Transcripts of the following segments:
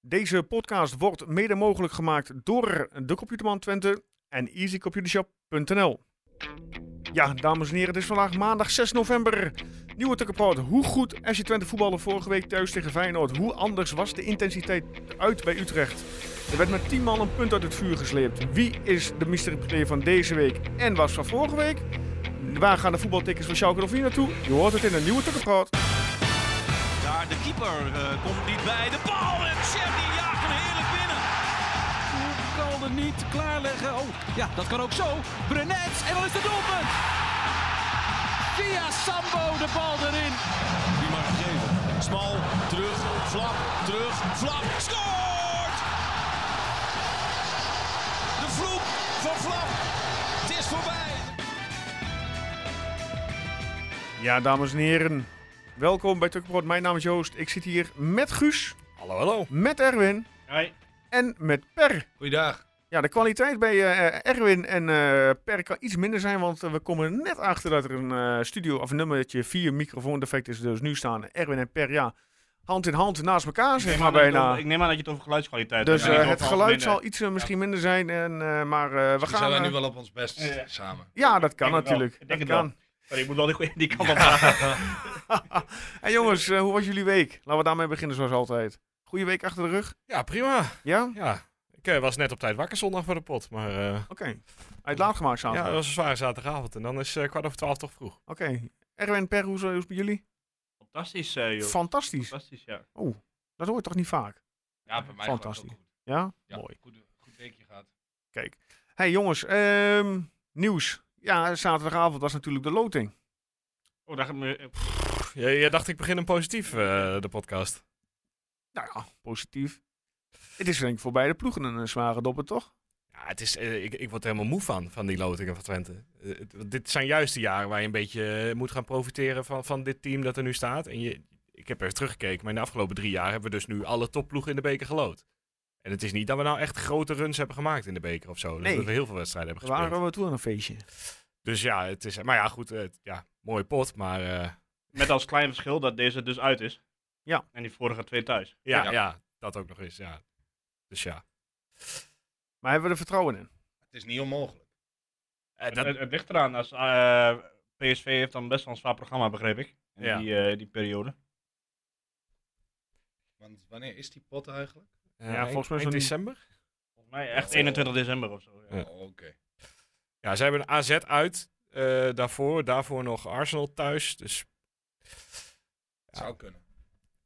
Deze podcast wordt mede mogelijk gemaakt door de Computerman Twente en easycomputershop.nl. Ja, dames en heren, het is vandaag maandag 6 november. Nieuwe Tukkenproud. Hoe goed FC Twente voetballen vorige week thuis tegen Feyenoord. Hoe anders was de intensiteit uit bij Utrecht. Er werd met 10 man een punt uit het vuur gesleept. Wie is de mystery van deze week en was van vorige week? Waar gaan de voetbaltickets van Schalke 04 naartoe? Je hoort het in een nieuwe Tukkenproud. Daar de keeper eh, komt niet bij. De bal en Chef die jaagt hem heerlijk binnen. kan er niet klaarleggen. Oh, ja, dat kan ook zo. Brenets, en dan is het doelpunt. Via Sambo de bal erin. Die mag geven. Smal, terug, flap, terug, flap. Scoort! De vloek van flap. Het is voorbij. Ja, dames en heren. Welkom bij Tukkenbrood. Mijn naam is Joost. Ik zit hier met Guus, Hallo, hallo. met Erwin Hoi. en met Per. Goeiedag. Ja, de kwaliteit bij eh, Erwin en eh, Per kan iets minder zijn, want eh, we komen er net achter dat er een eh, studio of nummertje 4 microfoon defect is. Dus nu staan Erwin en Per, ja, hand in hand naast elkaar, zeg Ik maar neem aan dat je het bijna. over- Ik neem aan dat je het over geluidskwaliteit Dus hebt. eh, Ja, het over geluid algemeen, zal iets eh, misschien minder zijn, en, eh, maar eh, Dus, we gaan... zijn wij eh, nu wel op ons best Ja. samen. Ja, dat kan Ik denk het wel. natuurlijk. Ik denk Dat het wel. kan. eh, sorry, ik moet wel die goeie- die kant op gaan. En jongens, eh, hoe was jullie week? Laten we daarmee beginnen zoals altijd. Goeie week achter de rug? Ja, prima. Ja? Ja. Ik eh, was net op tijd wakker zondag voor de pot, maar eh, Oké. Uitlaat gemaakt ja, zaterdag. dat was een zware zaterdagavond. En dan is eh, kwart over twaalf toch vroeg. Oké. Erwin Per, hoe is hoe is het bij jullie? Fantastisch, eh, joh. Fantastisch. Fantastisch, ja. Dat hoor je toch niet vaak? Ja, bij mij Fantastisch. Ja? Mooi. Goed, goed weekje gehad. Kijk. hey, jongens, ehm, nieuws. Ja, zaterdagavond was natuurlijk de loting. Oh, daar gaat me... eh, Jij, jij dacht ik begin een positief, eh, de podcast. Nou ja, positief. Het is denk ik voor beide ploegen een eh, zware dopper, toch? Ja, het is, eh, ik, ik word er helemaal moe van, van die lotingen van Twente. Eh, het- want dit zijn juist de jaren waar je een beetje eh, moet gaan profiteren van, van dit team dat er nu staat. En je, ik heb even teruggekeken, maar in de afgelopen drie jaar hebben we dus nu alle topploegen in de beker geloot. En het is niet dat we nou echt grote runs hebben gemaakt in de beker of zo. Dus Nee. Dat we heel veel wedstrijden hebben Waar gespeeld. waren we toe aan een feestje? Dus ja, het is, maar ja, goed, het, ja, mooie pot, maar eh, Met als klein verschil dat deze dus uit is. Ja. En die vorige twee thuis. ja, Ja. ja. dat ook nog eens, ja. Dus ja. Maar hebben we er vertrouwen in? Het is niet onmogelijk. Eh, Het, dat, het, het ligt eraan. Als, eh, PSV heeft dan best wel een zwaar programma, begreep ik. In Ja. die, eh, die periode. Want wanneer is die pot eigenlijk? eh, ja, volgens mij eind zo'n- december? Volgens mij echt 21 december of zo. Ja. Ja. Oh, Oké. Ja, ze hebben een AZ uit, eh, daarvoor, daarvoor nog Arsenal thuis, dus... Ja. Zou kunnen.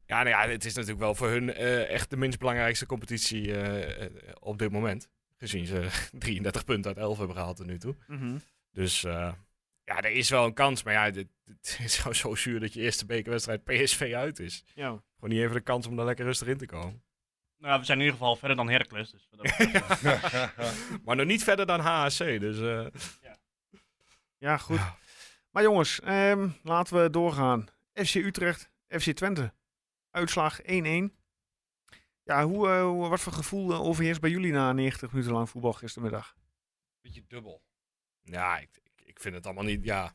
Ja, nou ja, het is natuurlijk wel voor hun eh, echt de minst belangrijkste competitie eh, eh, op dit moment. Gezien ze 33 punten uit 11 hebben gehaald tot nu toe. Dus eh, ja, er is wel een kans. Maar ja, dit- het is gewoon zo zuur dat je eerste bekerwedstrijd PSV uit is. Ja. Gewoon niet even de kans om daar lekker rustig in te komen. Nou, we zijn in ieder geval verder dan Heracles. Dus wat dat betreft, eh, Maar nog niet verder dan HAC. Dus eh, Ja, goed. Ja. Maar jongens, ehm, laten we doorgaan. FC Utrecht, FC Twente. Uitslag 1-1. Ja, hoe, eh, hoe- wat voor gevoel eh, overheerst bij jullie na 90 minuten lang voetbal gistermiddag? Beetje dubbel. ja, ik, ik- ik vind het allemaal niet. Ja,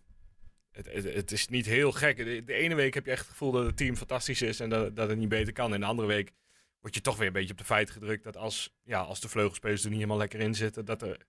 het, het, het is niet heel gek. De, de ene week heb je echt het gevoel dat het team fantastisch is en dat, dat het niet beter kan. En de andere week word je toch weer een beetje op de feit gedrukt dat als, ja, als de vleugelspelers er niet helemaal lekker in zitten, dat er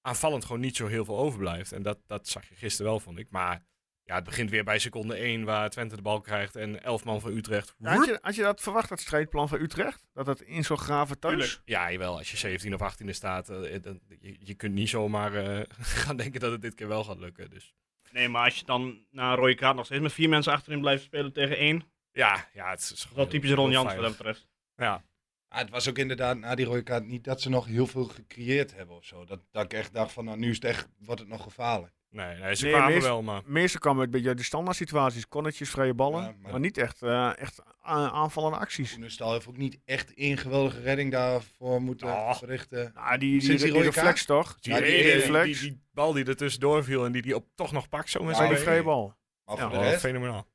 aanvallend gewoon niet zo heel veel overblijft. En dat, dat zag je gisteren wel, vond ik. Maar ja, het begint weer bij seconde 1 waar Twente de bal krijgt en 11 man van Utrecht. Had je, had je dat verwacht, dat strijdplan van Utrecht? Dat dat in zo'n graven thuis? Tuurlijk. Ja, jawel. Als je 17 of 18e staat, eh, dan, je, je kunt niet zomaar eh, gaan denken dat het dit keer wel gaat lukken. Dus Nee, maar als je dan na een rode kaart nog steeds met vier mensen achterin blijft spelen tegen één. Dat ja, ja het is is gewoon wel heel- typisch Ron heel Jans wat dat veilig. betreft. Ja, Ah, het was ook inderdaad na die rode kaart niet dat ze nog heel veel gecreëerd hebben of zo. Dat, dat ik echt dacht van, nou nu is het echt, wordt het nog gevaarlijk. nee, nee ze Nee, kwamen meest- wel, maar... Meestal kwam het bij die standaard situaties, konnetjes, vrije ballen. Ja, maar... maar- niet echt, eh, echt a- aanvallende acties. Koenenstal heeft ook niet echt één geweldige redding daarvoor moeten Oh. verrichten. Nou, die, die, Sinds die, die die rode reflex toch? Die, Ja, die- die, die- reflex. die- die bal die er tussendoor viel en die die op toch nog pakt zo met Ja, zijn die nee. vrije bal. Maar Ja, voor de Oh, rest, fenomenaal.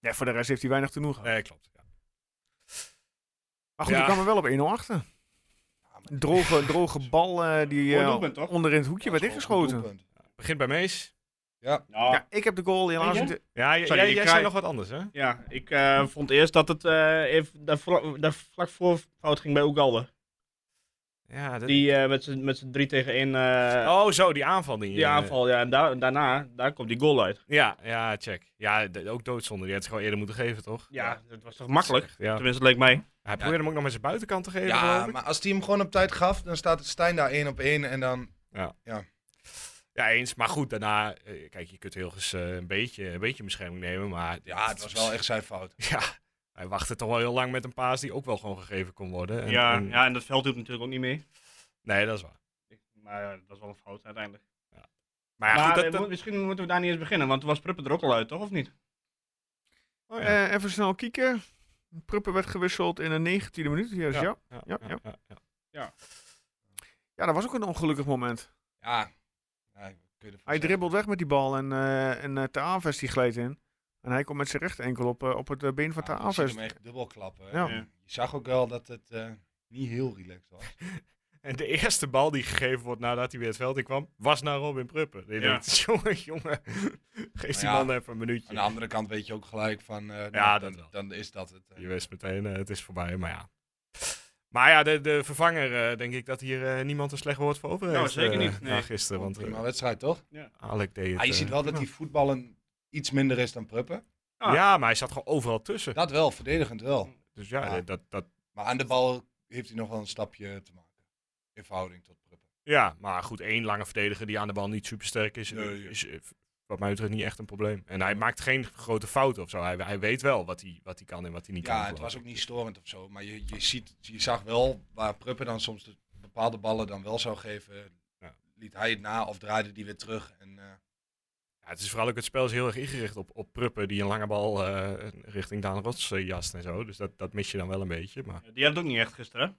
Ja, voor de rest heeft hij weinig te doen gehad. Nee, klopt. Ja. Maar goed, Ja. ik kwam er wel op 1-0 achter. Een droge, droge bal eh, die Mooi eh, doelpunt, toch? onder in het hoekje werd dat is wel een goed ingeschoten. doelpunt. Begint bij Mees. Ja. Nou, Ja, ik heb de goal helaas jij? niet... Ja, j- Sorry, jij, ik jij krijg- zei nog wat anders, hè? Ja, ik eh, vond eerst dat het eh, even daar, vla- daar vlak voor fout ging bij Ugalde. Ja, dat- Die eh, met z'n- met z'n 3 tegen 1, eh, Oh, zo, die aanval. Die, die eh, aanval, ja. En daar- daarna, daar komt die goal uit. Ja, ja, check. Ja, d- ook doodzonde. Die had ze gewoon eerder moeten geven, toch? Ja, dat was toch makkelijk? Ja. Tenminste, leek mij. Hij probeerde hem ook nog met zijn buitenkant te geven, Ja, geloof ik. maar als die hem gewoon op tijd gaf, dan staat het Stijn daar één op één en dan... Ja, eens. Maar goed, daarna... eh, Kijk, je kunt heel eens eh, een, beetje, een beetje bescherming nemen, maar... Ja, het was wel echt zijn fout. Ja, hij wachtte toch wel heel lang met een paas die ook wel gewoon gegeven kon worden. En- ja, en- ja, en dat veld doet natuurlijk ook niet mee. Nee, dat is waar. Maar ja, dat was wel een fout uiteindelijk. Maar ja, maar goed, eh, dat... dat- moet- misschien moeten we daar niet eens beginnen, want toen was Pruppen er ook al uit, toch? Of niet? oh, ja. Eh, even snel kieken. Pruppen werd gewisseld in de 19e minuut. Juist, ja. Ja. ja, ja. ja, ja. dat was ook een ongelukkig moment. Ja. Ja, kun je ervan Hij zeggen. dribbelt weg met die bal en, eh en eh, Ter Aves die gleed in. En hij komt met zijn rechter enkel op, eh, op het eh, been van Ja, Ter je ziet Aves. Ah, hem echt dubbel klappen. Ja. Ja. Je zag ook wel dat het eh, niet heel relaxed was. En de eerste bal die gegeven wordt nadat hij weer het veld in kwam, was naar Robin Pruppen. Die Ja. denkt, jongen, jongen, geef die Maar ja, man even een minuutje. Aan de andere kant weet je ook gelijk van, eh, nou, Ja, dan, dat wel. dan is dat het. eh. Je wist meteen, eh, het is voorbij, maar ja. Maar ja, de, de vervanger, eh, denk ik dat hier eh, niemand een slecht woord voor over heeft. Nou, zeker eh, niet, nee. na gisteren, want eh, prima wedstrijd, toch? Alec deed het. Ah, je eh, ziet wel dat prima. die voetballen iets minder is dan Pruppen. Ah. Ja, maar hij zat gewoon overal tussen. Dat wel, verdedigend wel. Dus ja, Ja. eh, Dat, dat, Maar aan de bal heeft hij nog wel een stapje te maken. In verhouding tot Pruppen. ja, maar goed, één lange verdediger die aan de bal niet supersterk is, Nee, ja. is eh, wat mij betreft niet echt een probleem. En hij maakt geen grote fouten of zo. Hij, hij weet wel wat hij, wat hij kan en wat hij niet kan. Ja, het geloof was ik. ook niet storend of zo. Maar je, je, ziet, je zag wel waar Pruppen dan soms de bepaalde ballen dan wel zou geven. Ja. Liet hij het na of draaide die weer terug. En, eh, Ja, het is vooral ook het spel is heel erg ingericht op, op Pruppen die een lange bal eh, richting Daan Rots eh, jast en zo. Dus dat, dat mis je dan wel een beetje. Maar Die had het ook niet echt gisteren. hè?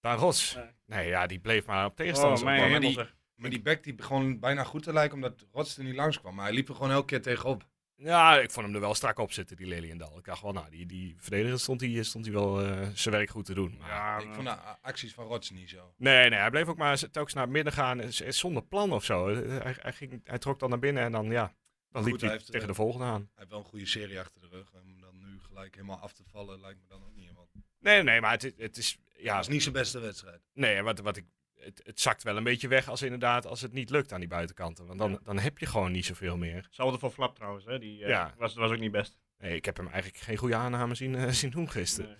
Daan Rots, Nee. nee ja, die bleef maar op tegenstanders oh, mijn opbouwen. hemel die- zeg. maar die back die begon bijna goed te lijken omdat Rots er niet langs kwam. Maar hij liep er gewoon elke keer tegenop. Ja, ik vond hem er wel strak op zitten, die Leliendal. Ik dacht wel, nou, die, die verdediger stond hij stond hij wel eh, zijn werk goed te doen. Maar... Ja, eh, Ik vond de a- acties van Rots niet zo. Nee, nee, hij bleef ook maar z- telkens naar het midden gaan eh, z- eh, zonder plan of zo. Eh, Hij, hij, ging, hij trok dan naar binnen en dan, ja, dan liep Goed, hij hij heeft, tegen eh, de volgende aan. Hij heeft wel een goede serie achter de rug. En om dan nu gelijk helemaal af te vallen lijkt me dan ook niet helemaal. Nee, nee, maar het, het is... Ja, Dat is niet zijn beste wedstrijd. Nee, en wat, wat ik, het, het zakt wel een beetje weg als inderdaad als het niet lukt aan die buitenkanten. Want dan, dan heb je gewoon niet zoveel meer. Hetzelfde voor Flap trouwens, hè. Die eh, Ja. was, was ook niet best. Nee, ik heb hem eigenlijk geen goede aanname zien, eh, zien doen gisteren. Nee.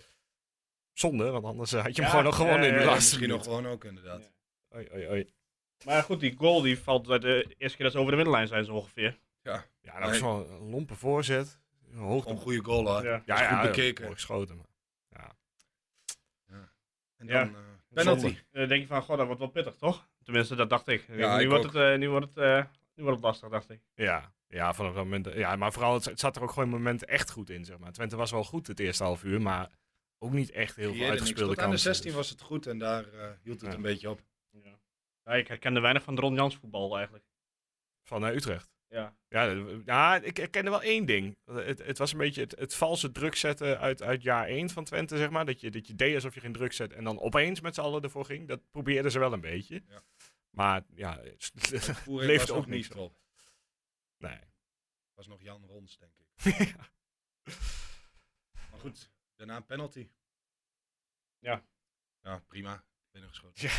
Zonde, want anders eh, had je hem Ja, gewoon nog gewonnen ja, in ja, de ja, laatste Misschien nog minuut. gewoon ook inderdaad. Ja. Oei, oei, oei. Maar goed, die goal die valt uit de eerste keer dat ze over de middenlijn zijn, zo ongeveer. Ja, dat was Nee. wel een lompe voorzet. Hoog, Gewoon een goede goal hoor. Ja. ja, is goed ja, bekeken. hoog geschoten. Maar. En Ja. dan eh, penalty. Zonde. En dan denk je van, god, dat wordt wel pittig, toch? Tenminste, dat dacht ik. Ja, nu, ik wordt ook. het, eh, nu, wordt het, eh, nu wordt het lastig, dacht ik. Ja, ja, vanaf dat moment. Ja, maar vooral, het, het zat er ook gewoon een moment echt goed in, zeg maar. Twente was wel goed het eerste half uur, maar ook niet echt heel veel Creëerde niks. uitgespeelde Tot aan de kansen. dus. 16 was het goed en daar eh, hield het Ja. een beetje op. Ja. ik herkende weinig van Ron Jans voetbal eigenlijk. Van eh, Utrecht. Ja. Ja, dat- ja, ik herkende wel één ding. Het, het was een beetje het, het valse druk zetten uit, uit jaar 1 van Twente, zeg maar. Dat je, dat je deed alsof je geen druk zet en dan opeens met z'n allen ervoor ging. Dat probeerden ze wel een beetje. Ja. Maar ja, het- Voering Leeft was ook ook niks niet op. op. nee. was nog Jan Rons, denk ik. Ja. Maar goed, daarna een penalty. Ja. Ja, prima. Binnengeschoten.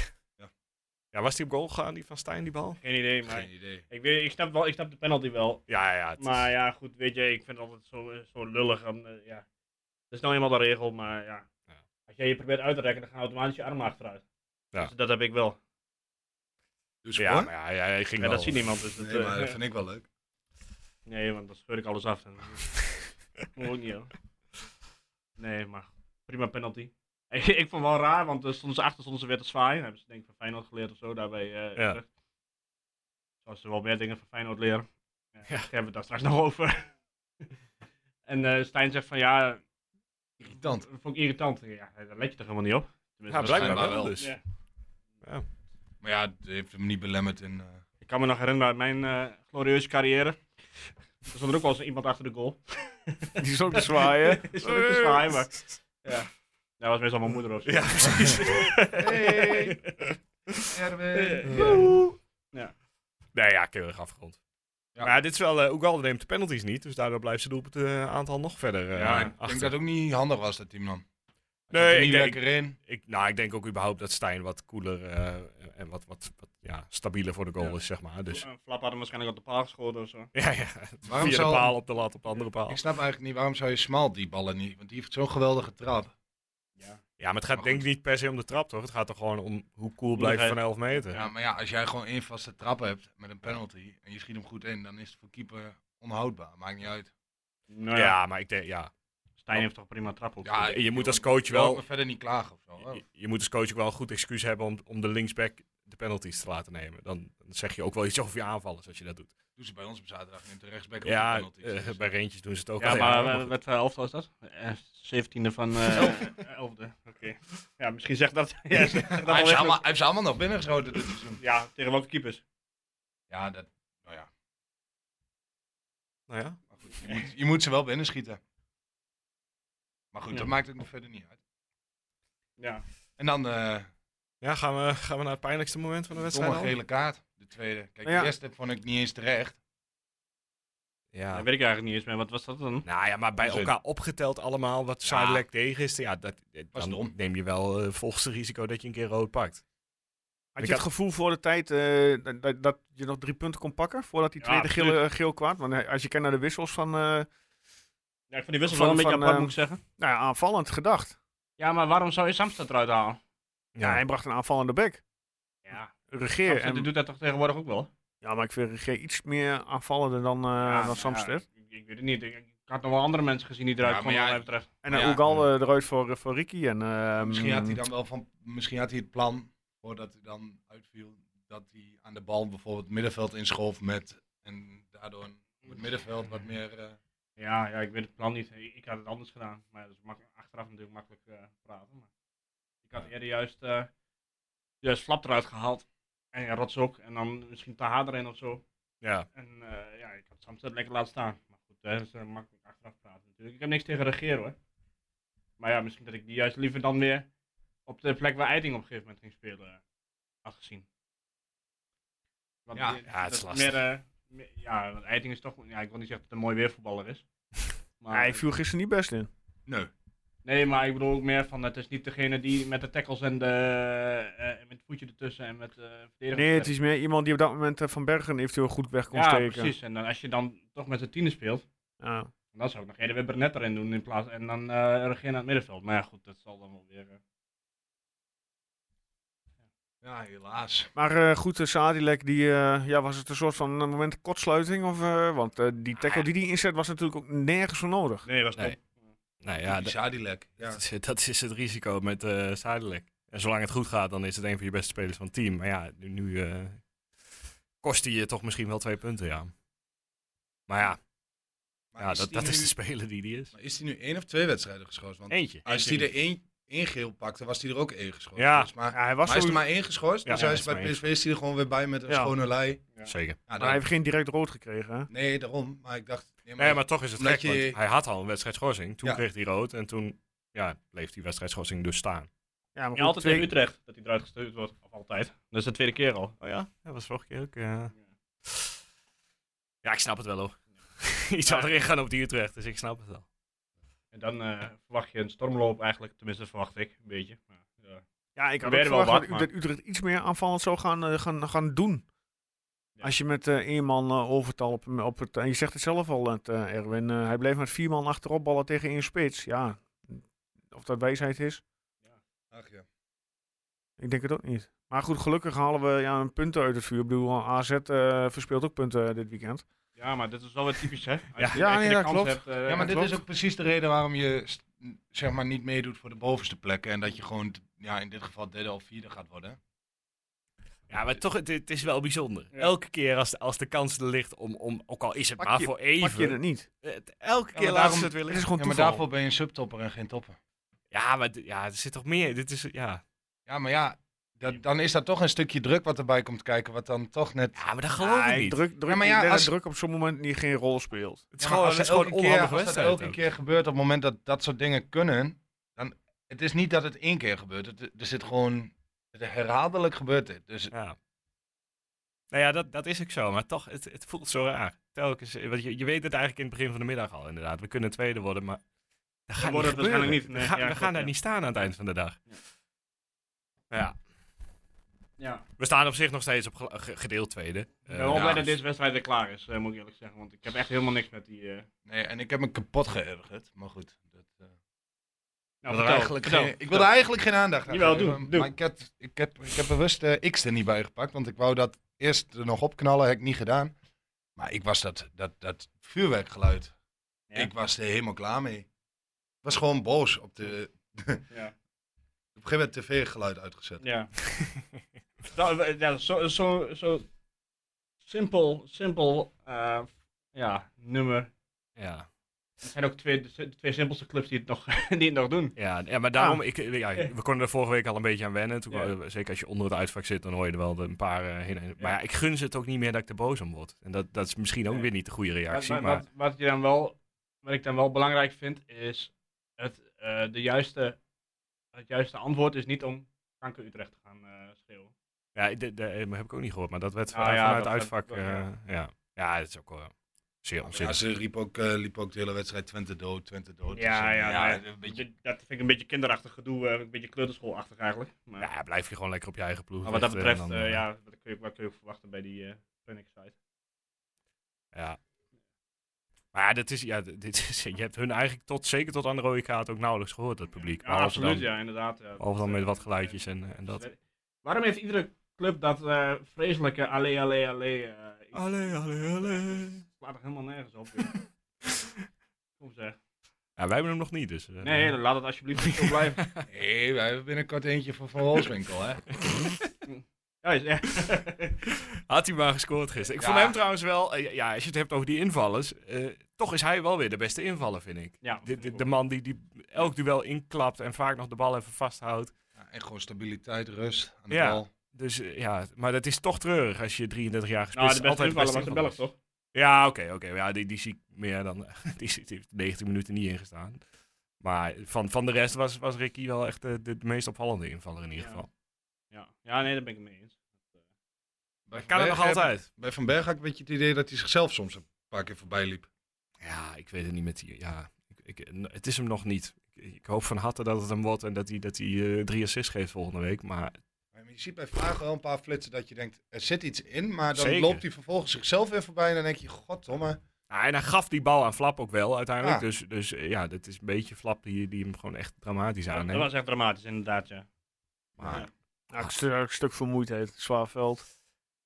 ja, was die op goal gegaan, die van Stijn, die bal? Geen idee, maar Geen idee. ik, weet, ik, snap wel, ik snap de penalty wel. Ja, ja. het is- Maar ja, goed, weet je, ik vind het altijd zo, zo lullig. En, eh, ja. Het is nou eenmaal de regel, maar ja. Ja. Als jij je probeert uit te rekken, dan gaan automatisch je armen achteruit. Ja. Dus dat heb ik wel. Dus ja, maar ja, ja, hij ging Ja, wel- dat ziet niemand. Dus dat, Nee, maar eh, dat vind ik wel leuk. Nee, want dan scheur ik alles af. En... Moet ook niet, hoor. Nee, maar prima penalty. Ik, ik vond het wel raar, want er stonden ze achter, stonden ze weer te zwaaien. Hebben ze denk ik van Feyenoord geleerd of zo, daarbij eh Ja. Utrecht. Zoals ze wel meer dingen van Feyenoord leren. Ja, Ja. Daar hebben we het daar straks nog over. en eh, Stijn zegt van ja, Irritant. dat vond ik irritant. Ja, daar let je toch helemaal niet op? Ja, Tenminste, blijkbaar wel. wel. Dus. Ja. Maar ja, het heeft hem niet belemmerd in... eh, Ik kan me nog herinneren uit mijn eh, glorieuze carrière. Er stond er ook wel eens iemand achter de goal. Die is ook te zwaaien. Eh, Is dat ook te zwaaien, maar... Ja. Nou, Dat was meestal mijn moeder of zo. Ja, precies. Hey, Erwin. Ja. Nee, ja, keurig afgerond. Maar ja, dit is wel, eh Ugalde neemt de penalties niet, dus daardoor blijft zijn doelpunt eh, aantal nog verder eh, ja, ik achter. denk dat het ook niet handig was, dat team dan. Nee, Hij zat er ik niet denk- lekker in. ik, nou, ik denk ook überhaupt dat Stijn wat koeler eh, en wat, wat, wat ja, stabieler voor de goal Ja. is, zeg maar. Dus, Flap had hem waarschijnlijk op de paal geschoten of zo. ja, ja. Waarom Via zou- de paal op de lat, op de andere paal. Ik snap eigenlijk niet, waarom zou je Smalt die ballen niet? Want die heeft zo'n geweldige trap. Ja, maar het gaat Maar denk ik Oh, goed. niet per se om de trap, toch? Het gaat toch gewoon om hoe cool blijft hij- van 11 meter. Ja, maar ja, als jij gewoon één vaste trap hebt met een penalty en je schiet hem goed in, dan is het voor keeper onhoudbaar. Maakt niet uit. Nou Ja, ja, maar ik denk, ja. Stijn heeft toch prima trap op. Ja, Je- je moet als coach Je wil wel, me verder niet klagen of zo. hoor. je, je moet als coach ook wel een goed excuus hebben om, om de linksback de penalties te laten nemen. Dan, dan zeg je ook wel iets over je aanvallers als je dat doet. Doe ze bij ons op zaterdag in de rechtsback op Ja, de penalties. eh, Dus- bij Reentjes doen ze het ook Ja, al maar jaren, eh, goed. wat voor elftal is dat? Eh, Zeventiende van eh, elfde. Oké. Ja, misschien zegt dat. ja, zegt dat Maar hij, wel heeft ze echt- allemaal, hij heeft ze allemaal nog binnengeschoten dit seizoen. ja, tegen welke keepers? Ja, dat, nou ja. Nou ja. Maar goed, je, moet, je moet ze wel binnenschieten. Maar goed, Ja. dat maakt het nog verder niet uit. Ja. En dan eh Ja, gaan we, gaan we naar het pijnlijkste moment van de de wedstrijd dan? Nou gele kaart, de tweede. Kijk, Ja. de eerste vond ik niet eens terecht. Ja. Dat weet ik eigenlijk niet eens meer. Wat was dat dan? Nou ja, maar bij Onzin. elkaar opgeteld allemaal wat Sidelijk tegen is, ja, dat, eh, Was dan dom. neem je wel eh, volgens het risico dat je een keer rood pakt. Had Ik je het had- gevoel voor de tijd eh, dat- dat, dat je nog drie punten kon pakken voordat die Ja, tweede geel, absoluut. eh, geel kwam? Want eh, als je kijkt naar de wissels van eh, nou Ja, ik vond die wissel Van- wel een beetje van, apart, eh, moet ik zeggen. ja, aanvallend gedacht. Ja, maar waarom zou je Samstad eruit halen? Ja. hij bracht een aanvallende back. Ja, Ehm. Regeer. Samstad en- doet dat toch tegenwoordig ook wel? ja, maar ik vind Regeer iets meer aanvallender dan, eh Ja, dan nou Samsted. ja, ik, ik weet het niet. Ik, ik had nog wel andere mensen gezien die eruit Ja, maar konden, wat ja, mij betreft. En Maar dan ja, Ugalde eruit voor, eh, voor Ricky. En, ehm, Misschien had hij Mm. dan wel van, misschien had hij het plan, voordat hij dan uitviel, dat hij aan de bal bijvoorbeeld het middenveld inschoof met, en daardoor een- op het middenveld wat meer... eh, Ja, ja, ik weet het plan niet. Ik ik had het anders gedaan. Maar ja, dat is mak- achteraf natuurlijk makkelijk eh, praten. Maar ik had eerder juist, eh juist Flap eruit gehaald. En ja, Rots ook. En dan misschien Taha erin of zo. Ja. En eh, ja, ik had Samsted lekker laten staan. Maar goed, hè, dat is eh, makkelijk achteraf praten natuurlijk. Ik heb niks tegen regeren hoor. Maar ja, misschien dat ik die juist liever dan weer op de plek waar Eiting op een gegeven moment ging spelen eh, had gezien. Want Ja, die- ja, het is dat lastig. Meer, eh, meer- ja, want Eiting is toch... Ja, ik wil niet zeggen dat het een mooi weervoetballer is. Maar, hij viel gisteren niet best in. nee. Nee, maar ik bedoel ook meer van... Het is niet degene die met de tackles en de, eh, en met het voetje ertussen en met eh verdediging... Nee, het is meer iemand die op dat moment eh, Van Bergen eventueel goed weg kon Ja, steken. precies. En dan, als je dan toch met de tienen speelt... Ja. En dan zou ik nog eerder weer Burnett erin doen in plaats en dan eh Regina aan het middenveld. Maar ja, goed, dat zal dan wel weer. eh, Ja, helaas. Maar eh, goed, eh, Sadilek, die, eh, ja, was het een soort van een moment kortsluiting? Of, eh, want eh, die tackle die die inzet was natuurlijk ook nergens voor nodig. Nee, was Nee. top. Nou ja, Ja, dat, Sadilek. Ja. dat is, dat is het risico met eh Sidelijk. En zolang het goed gaat, dan is het een van je beste spelers van het team. Maar ja, nu, nu eh, kost hij je toch misschien wel twee punten, ja. Maar ja, Maar ja is dat, die dat is nu- de speler die die is. Maar is hij nu één of twee wedstrijden geschoten? Want Eentje. als hij er één, één geel pakte, was hij er ook één geschoten. Ja. volgens mij. Ja, hij maar was hij is er sowieso- maar één geschorst. Ja, dus ja, hij hij is is maar bij één PSV is hij er gewoon weer bij met een Ja. schone lei. Zeker. Ja, Maar hij dan- heeft geen direct rood gekregen. Hè? Nee, daarom. Maar ik dacht... ja, Nee, maar toch is het Omdat gek, je- want hij had al een wedstrijd schorsing. Toen Ja. kreeg hij rood en toen ja, bleef die wedstrijd schorsing dus staan. Ja, maar Ja, goed, altijd twee- in Utrecht dat hij eruit gestuurd wordt. Of altijd. Dat is de tweede keer al. Oh ja, dat was vorige keer ook. Ja, ja ik snap het wel hoor. Ja. Iets zou erin gaan op die Utrecht, dus ik snap het wel. En dan eh, verwacht je een stormloop eigenlijk. Tenminste, verwacht ik een beetje. Maar, eh, ja. Ja, ik had ook Probeerde wel verwacht dat, wat, U- dat Utrecht iets meer aanvallend zou gaan, eh, gaan, gaan doen. Ja. Als je met eh één man eh, overtal op, op het... En je zegt het zelf al, het, eh, Erwin. eh, hij bleef met vier man achterop ballen tegen één spits. Ja, of dat wijsheid is, Ach, ja. ik denk het ook niet. Maar goed, gelukkig halen we ja, een punten uit het vuur. Ik bedoel, AZ eh, verspeelt ook punten dit weekend. ja, maar dit is wel weer typisch, hè? Als je, als je Ja, nee, de dat kans klopt. hebt. eh, Ja, maar dit klopt. is ook precies de reden waarom je st- n- zeg maar niet meedoet voor de bovenste plekken. En dat je gewoon, t- ja, in dit geval derde of vierde gaat worden. Ja, maar toch, het, het is wel bijzonder. Elke keer als de, als de kans er ligt om, om, ook al is het Pak maar je- voor Pak je het even, niet? het- elke maar keer laten daarom- ze het weer Het is liggen. gewoon Ja, maar toeval. daarvoor ben je een subtopper en geen topper. Ja, maar d- ja, er zit toch meer. Dit is, ja. Ja, maar ja, dat, dan is dat toch een stukje druk wat erbij komt kijken. Wat dan toch net... ja, maar dat geloof ik Ah, niet. Druk, druk, Ja, maar ja, ik denk dat als- druk op zo'n moment niet geen rol speelt. Het is Ja, maar gewoon, als het is dat gewoon elke keer- onhandige als wedstrijd. dat elke ook. keer gebeurt op het moment dat dat soort dingen kunnen, dan het is niet dat het één keer gebeurt. Het, er zit gewoon het herhaaldelijk gebeurt dit. Dus Ja. Nou ja, dat, dat is ook zo, maar toch, het, het voelt zo raar. Telkens, eh, want je, je weet het eigenlijk in het begin van de middag al, inderdaad. We kunnen tweede worden, maar dat gaat worden niet we waarschijnlijk gebeuren. niet, nee, we gaan, ja, we klopt, gaan daar ja. niet staan aan het eind van de dag. Ja. Maar ja, Ja. we staan op zich nog steeds op gel- ge- gedeeld tweede. Eh, Ik ben wel blij ja, dat deze wedstrijd weer klaar is, eh, moet ik eerlijk zeggen. Want ik heb echt helemaal niks met die... eh, Nee, en ik heb me kapot geërgerd. Maar goed. Dat, eh, Nou, Dat vertel, eigenlijk vertel, geen- ik vertel. wilde eigenlijk geen aandacht aan Jawel, geven, doe, doe. Maar ik heb, ik heb, ik heb bewust eh, X er niet bij gepakt. Want ik wou dat eerst er nog opknallen. Heb ik niet gedaan. Maar ik was dat, dat, dat vuurwerkgeluid. Ja. Ik was er helemaal klaar mee. Ik was gewoon boos op de... Ja. Op een gegeven moment tv-geluid uitgezet. Ja. dat, eh, ja, zo, zo, zo simpel, simpel eh, ja, nummer. Ja, Het zijn ook twee, de twee simpelste clubs die het nog, die het nog doen. ja, ja, maar daarom, ik, eh, ja, we konden er vorige week al een beetje aan wennen. Toen, Ah. Ja. eh, Zeker als je onder het uitvak zit, dan hoor je er wel een paar eh, heen. en- Maar ja, ik gun ze het ook niet meer dat ik er boos om word. En dat, dat is misschien ook Nee. weer niet de goede Wat, reactie, wat, maar... wat, wat je dan wel, wat ik dan wel belangrijk vind, is het, eh, de juiste, het juiste antwoord is niet om kanker Utrecht te gaan eh, schreeuwen. Ja, de, de, eh, heb ik ook niet gehoord, maar dat werd Nou van- ja, vanuit dat- uitvak. dat- eh, ja. ja. ja, dat is ook wel zeer Ja, onzinnig. ze riep ook, eh, liep ook de hele wedstrijd Twente dood, Twente dood. Ja, Dus, eh, ja, nou ja, een beetje... Dat vind ik een beetje kinderachtig gedoe, eh, een beetje kleuterschoolachtig eigenlijk. Maar, Ja, blijf je gewoon lekker op je eigen ploeg. maar wat dat vechten en betreft, dan, eh, eh, ja, wat kun je, wat kun je ook verwachten bij die eh Phoenix site. ja. Maar ja, dit is, ja, dit is, je hebt hun eigenlijk tot, zeker tot aan de rode kaart ook nauwelijks gehoord, dat publiek. Ja, Behalve absoluut, dan, ja, inderdaad. Ja. eh, behalve dan met wat geluidjes en, en Dat- dat. Waarom heeft iedere club dat eh, vreselijke allee, allee, allee? eh, iets- Allee, allee, allee. Het slaat er helemaal nergens op. joh. Kom zeg. Eh, Ja, wij hebben hem nog niet, dus. eh, Nee, laat het alsjeblieft niet zo blijven. Nee, wij hebben binnenkort eentje van Van Wolfswinkel, hè. Ja, is- ja. Had hij maar gescoord gisteren. Ik Ja. vond hem trouwens wel, eh, ja, als je het hebt over die invallers, eh, toch is hij wel weer de beste invaller, vind ik. Ja, Nou, De, de, de man die, die elk duel inklapt en vaak nog de bal even vasthoudt. Ja, en gewoon stabiliteit, rust aan de Ja. bal. Dus eh, ja, maar dat is toch treurig als je 33 jaar gespeeld nou, de beste altijd invaller was de invaller Belg, is. toch? Ja, oké, oké. Ja, die, die zie ik meer dan. Die, zit- die heeft 90 minuten niet ingestaan. Maar van, van de rest was, was Ricky wel echt de, de, meest opvallende invaller in ieder Ja. geval. Ja. ja, nee, daar ben ik het mee eens. Bij Van Kan het Berg nog heb- altijd? Bij Van Berg had ik een beetje het idee dat hij zichzelf soms een paar keer voorbij liep. Ja, ik weet het niet met die. Ja, ik, ik, het is hem nog niet. Ik, ik hoop van harte dat het hem wordt en dat hij, dat hij eh, drie assists geeft volgende week. Maar Maar je ziet bij Vlaag wel een paar flitsen dat je denkt, er zit iets in, maar dan Zeker. loopt hij vervolgens zichzelf weer voorbij en dan denk je, goddomme. Ja, Ah, en hij gaf die bal aan Flap ook wel uiteindelijk. Ja. Dus, dus eh, ja, dat is een beetje Flap die, die hem gewoon echt dramatisch dat aanneemt. was echt dramatisch, inderdaad, ja. Maar, Ja. Ja, ik stu- een stuk vermoeidheid, zwaar veld.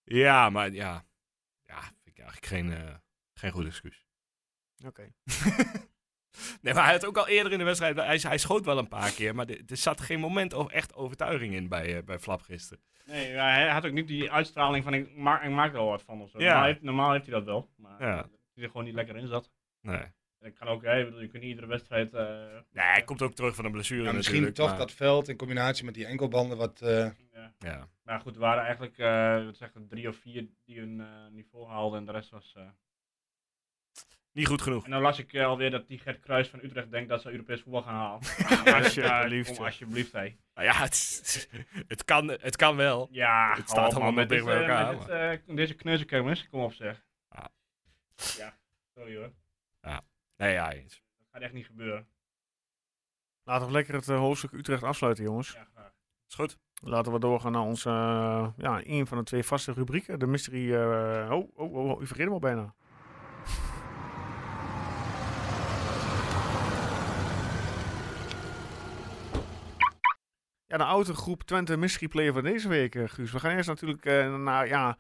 Ja, maar ja. Ja, vind ik eigenlijk geen, eh, geen goed excuus. Oké. Nee, maar hij had ook al eerder in de wedstrijd. Hij, hij schoot wel een paar keer, maar er er zat geen moment of echt overtuiging in bij, eh, bij Flap gisteren. Nee, ja, hij had ook niet die uitstraling van ik maak, ik maak er al wat van of zo. Ja. Normaal, heeft, normaal heeft hij dat wel, maar Ja. dat hij er gewoon niet lekker in zat. Nee. En ik kan ook, hè, ik bedoel, je kunt niet iedere wedstrijd... eh, nee, hij komt ook terug van een blessure. Ja, misschien natuurlijk, toch maar- dat veld in combinatie met die enkelbanden wat... eh, ja. Ja. Maar goed, er waren eigenlijk eh, wat zeg, ik, drie of vier die hun eh, niveau haalden en de rest was... eh, Niet goed genoeg. En dan las ik eh, alweer dat die Gert Kruis van Utrecht denkt dat ze Europees voetbal gaan halen. Alsjeblieft, Ja, kom, ja. alsjeblieft, hé. Nou ja, het, is- het, kan, het kan wel. Ja, Het staat allemaal met dicht bij dit, eh, elkaar, met dit, eh, deze kneuzenkermis, kom op zeg. Ah. Ja, sorry hoor. Nee, ja, eens. Dat gaat echt niet gebeuren. Laten we lekker het eh, hoofdstuk Utrecht afsluiten, jongens. Ja, graag. Is goed. Laten we doorgaan naar onze, eh, ja, een van de twee vaste rubrieken. De mystery, eh, oh, oh, oh, oh, u vergeet hem al bijna. Ja, de oude groep Twente mystery player van deze week, eh, Guus. We gaan eerst natuurlijk eh, naar, ja,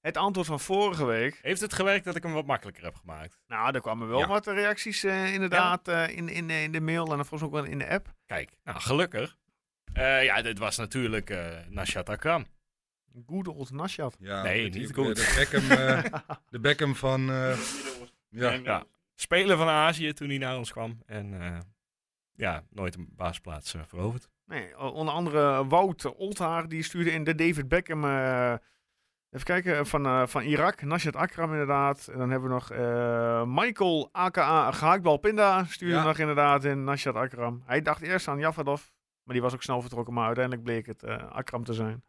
het antwoord van vorige week. Heeft het gewerkt dat ik hem wat makkelijker heb gemaakt? Nou, er kwamen wel Ja. wat reacties eh, inderdaad eh, in, in, in de mail en dan volgens mij ook wel in de app. Kijk, nou, gelukkig. Eh, ja, dit was natuurlijk eh Nashat Akram. Good old Nasjat. ja, Nee, met die- niet goed. De Beckham, eh, de Beckham van... eh, ja. Nee, maar- speler van Azië toen hij naar ons kwam. En eh, ja, nooit een basisplaats eh, veroverd. Nee, o- onder andere Wout Olthaar, die stuurde in de David Beckham. eh, even kijken, eh, van, eh, van Irak, Nasjad Akram inderdaad. En dan hebben we nog eh, Michael, aka Gehaakbal Pinda, stuurde Ja. nog inderdaad in Nasjad Akram. Hij dacht eerst aan Javadov, maar die was ook snel vertrokken. Maar uiteindelijk bleek het eh, Akram te zijn.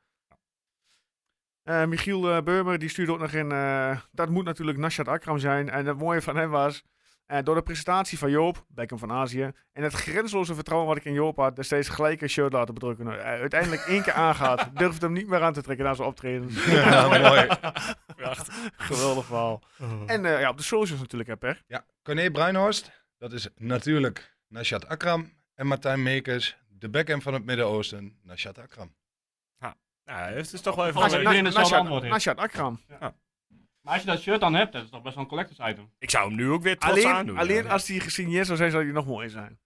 Eh, Michiel eh, Beurmer die stuurde ook nog in, eh, dat moet natuurlijk Nashat Akram zijn. En het mooie van hem was, eh, door de presentatie van Joop, Beckham van Azië, en het grenzeloze vertrouwen wat ik in Joop had, er steeds gelijk een shirt laten bedrukken. Nou, eh, uiteindelijk één keer aangaat, durfde hem niet meer aan te trekken na zijn optreden. Ja, mooi. Geweldig verhaal. En eh, ja, op de socials natuurlijk, hè, Per. Ja, Corné Bruinhorst, dat is natuurlijk Nashat Akram. En Martijn Meekers, de backhand van het Midden-Oosten, Nashat Akram. Nou, het is toch wel even... Als je- leuk. nou- iedereen hetzelfde Nashat- antwoord heeft. Nashat Akram. Maar als je dat shirt dan hebt, dat is toch best wel een collectors item. Ik zou hem nu ook weer trots Alleen, aandoen. alleen ja. als die gesigneerd zou zijn, zou die nog mooi zijn.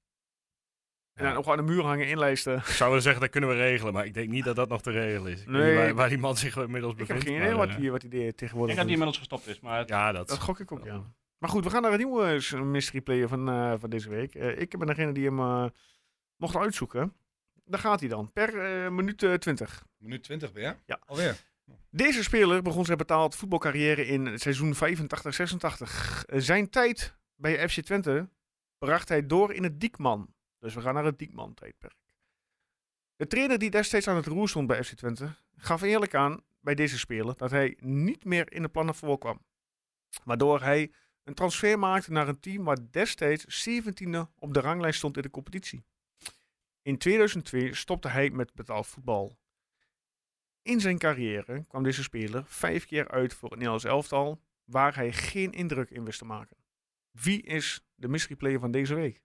En dan ook aan de muur hangen, inlijsten. Ik zou willen zeggen, dat kunnen we regelen. Maar ik denk niet dat dat nog te regelen is. Ik weet Nee. niet waar, waar die man zich inmiddels Ik heb bevindt. geen maar, idee wat eh, die, wat die deed Ik tegenwoordig denk dat die doet. inmiddels gestopt is, maar het- Ja, dat... Dat gok ik ook, ja. Maar goed, we gaan naar een nieuwe eh, s- mystery player van, eh, van deze week. Eh, ik ben degene die hem eh, mocht uitzoeken. Daar gaat hij dan, per eh, minuut eh, 20. Minuut 20 weer? Ja. Alweer. Deze speler begon zijn betaald voetbalcarrière in het seizoen 85-86. Eh, zijn tijd bij FC Twente bracht hij door in het Diekman. Dus we gaan naar het Diekman-tijdperk. De trainer die destijds aan het roer stond bij FC Twente gaf eerlijk aan bij deze speler dat hij niet meer in de plannen voorkwam. Waardoor hij een transfer maakte naar een team waar destijds 17e op de ranglijst stond in de competitie. In 2002 stopte hij met betaald voetbal. In zijn carrière kwam deze speler vijf keer uit voor het Nederlands elftal, waar hij geen indruk in wist te maken. Wie is de mystery player van deze week?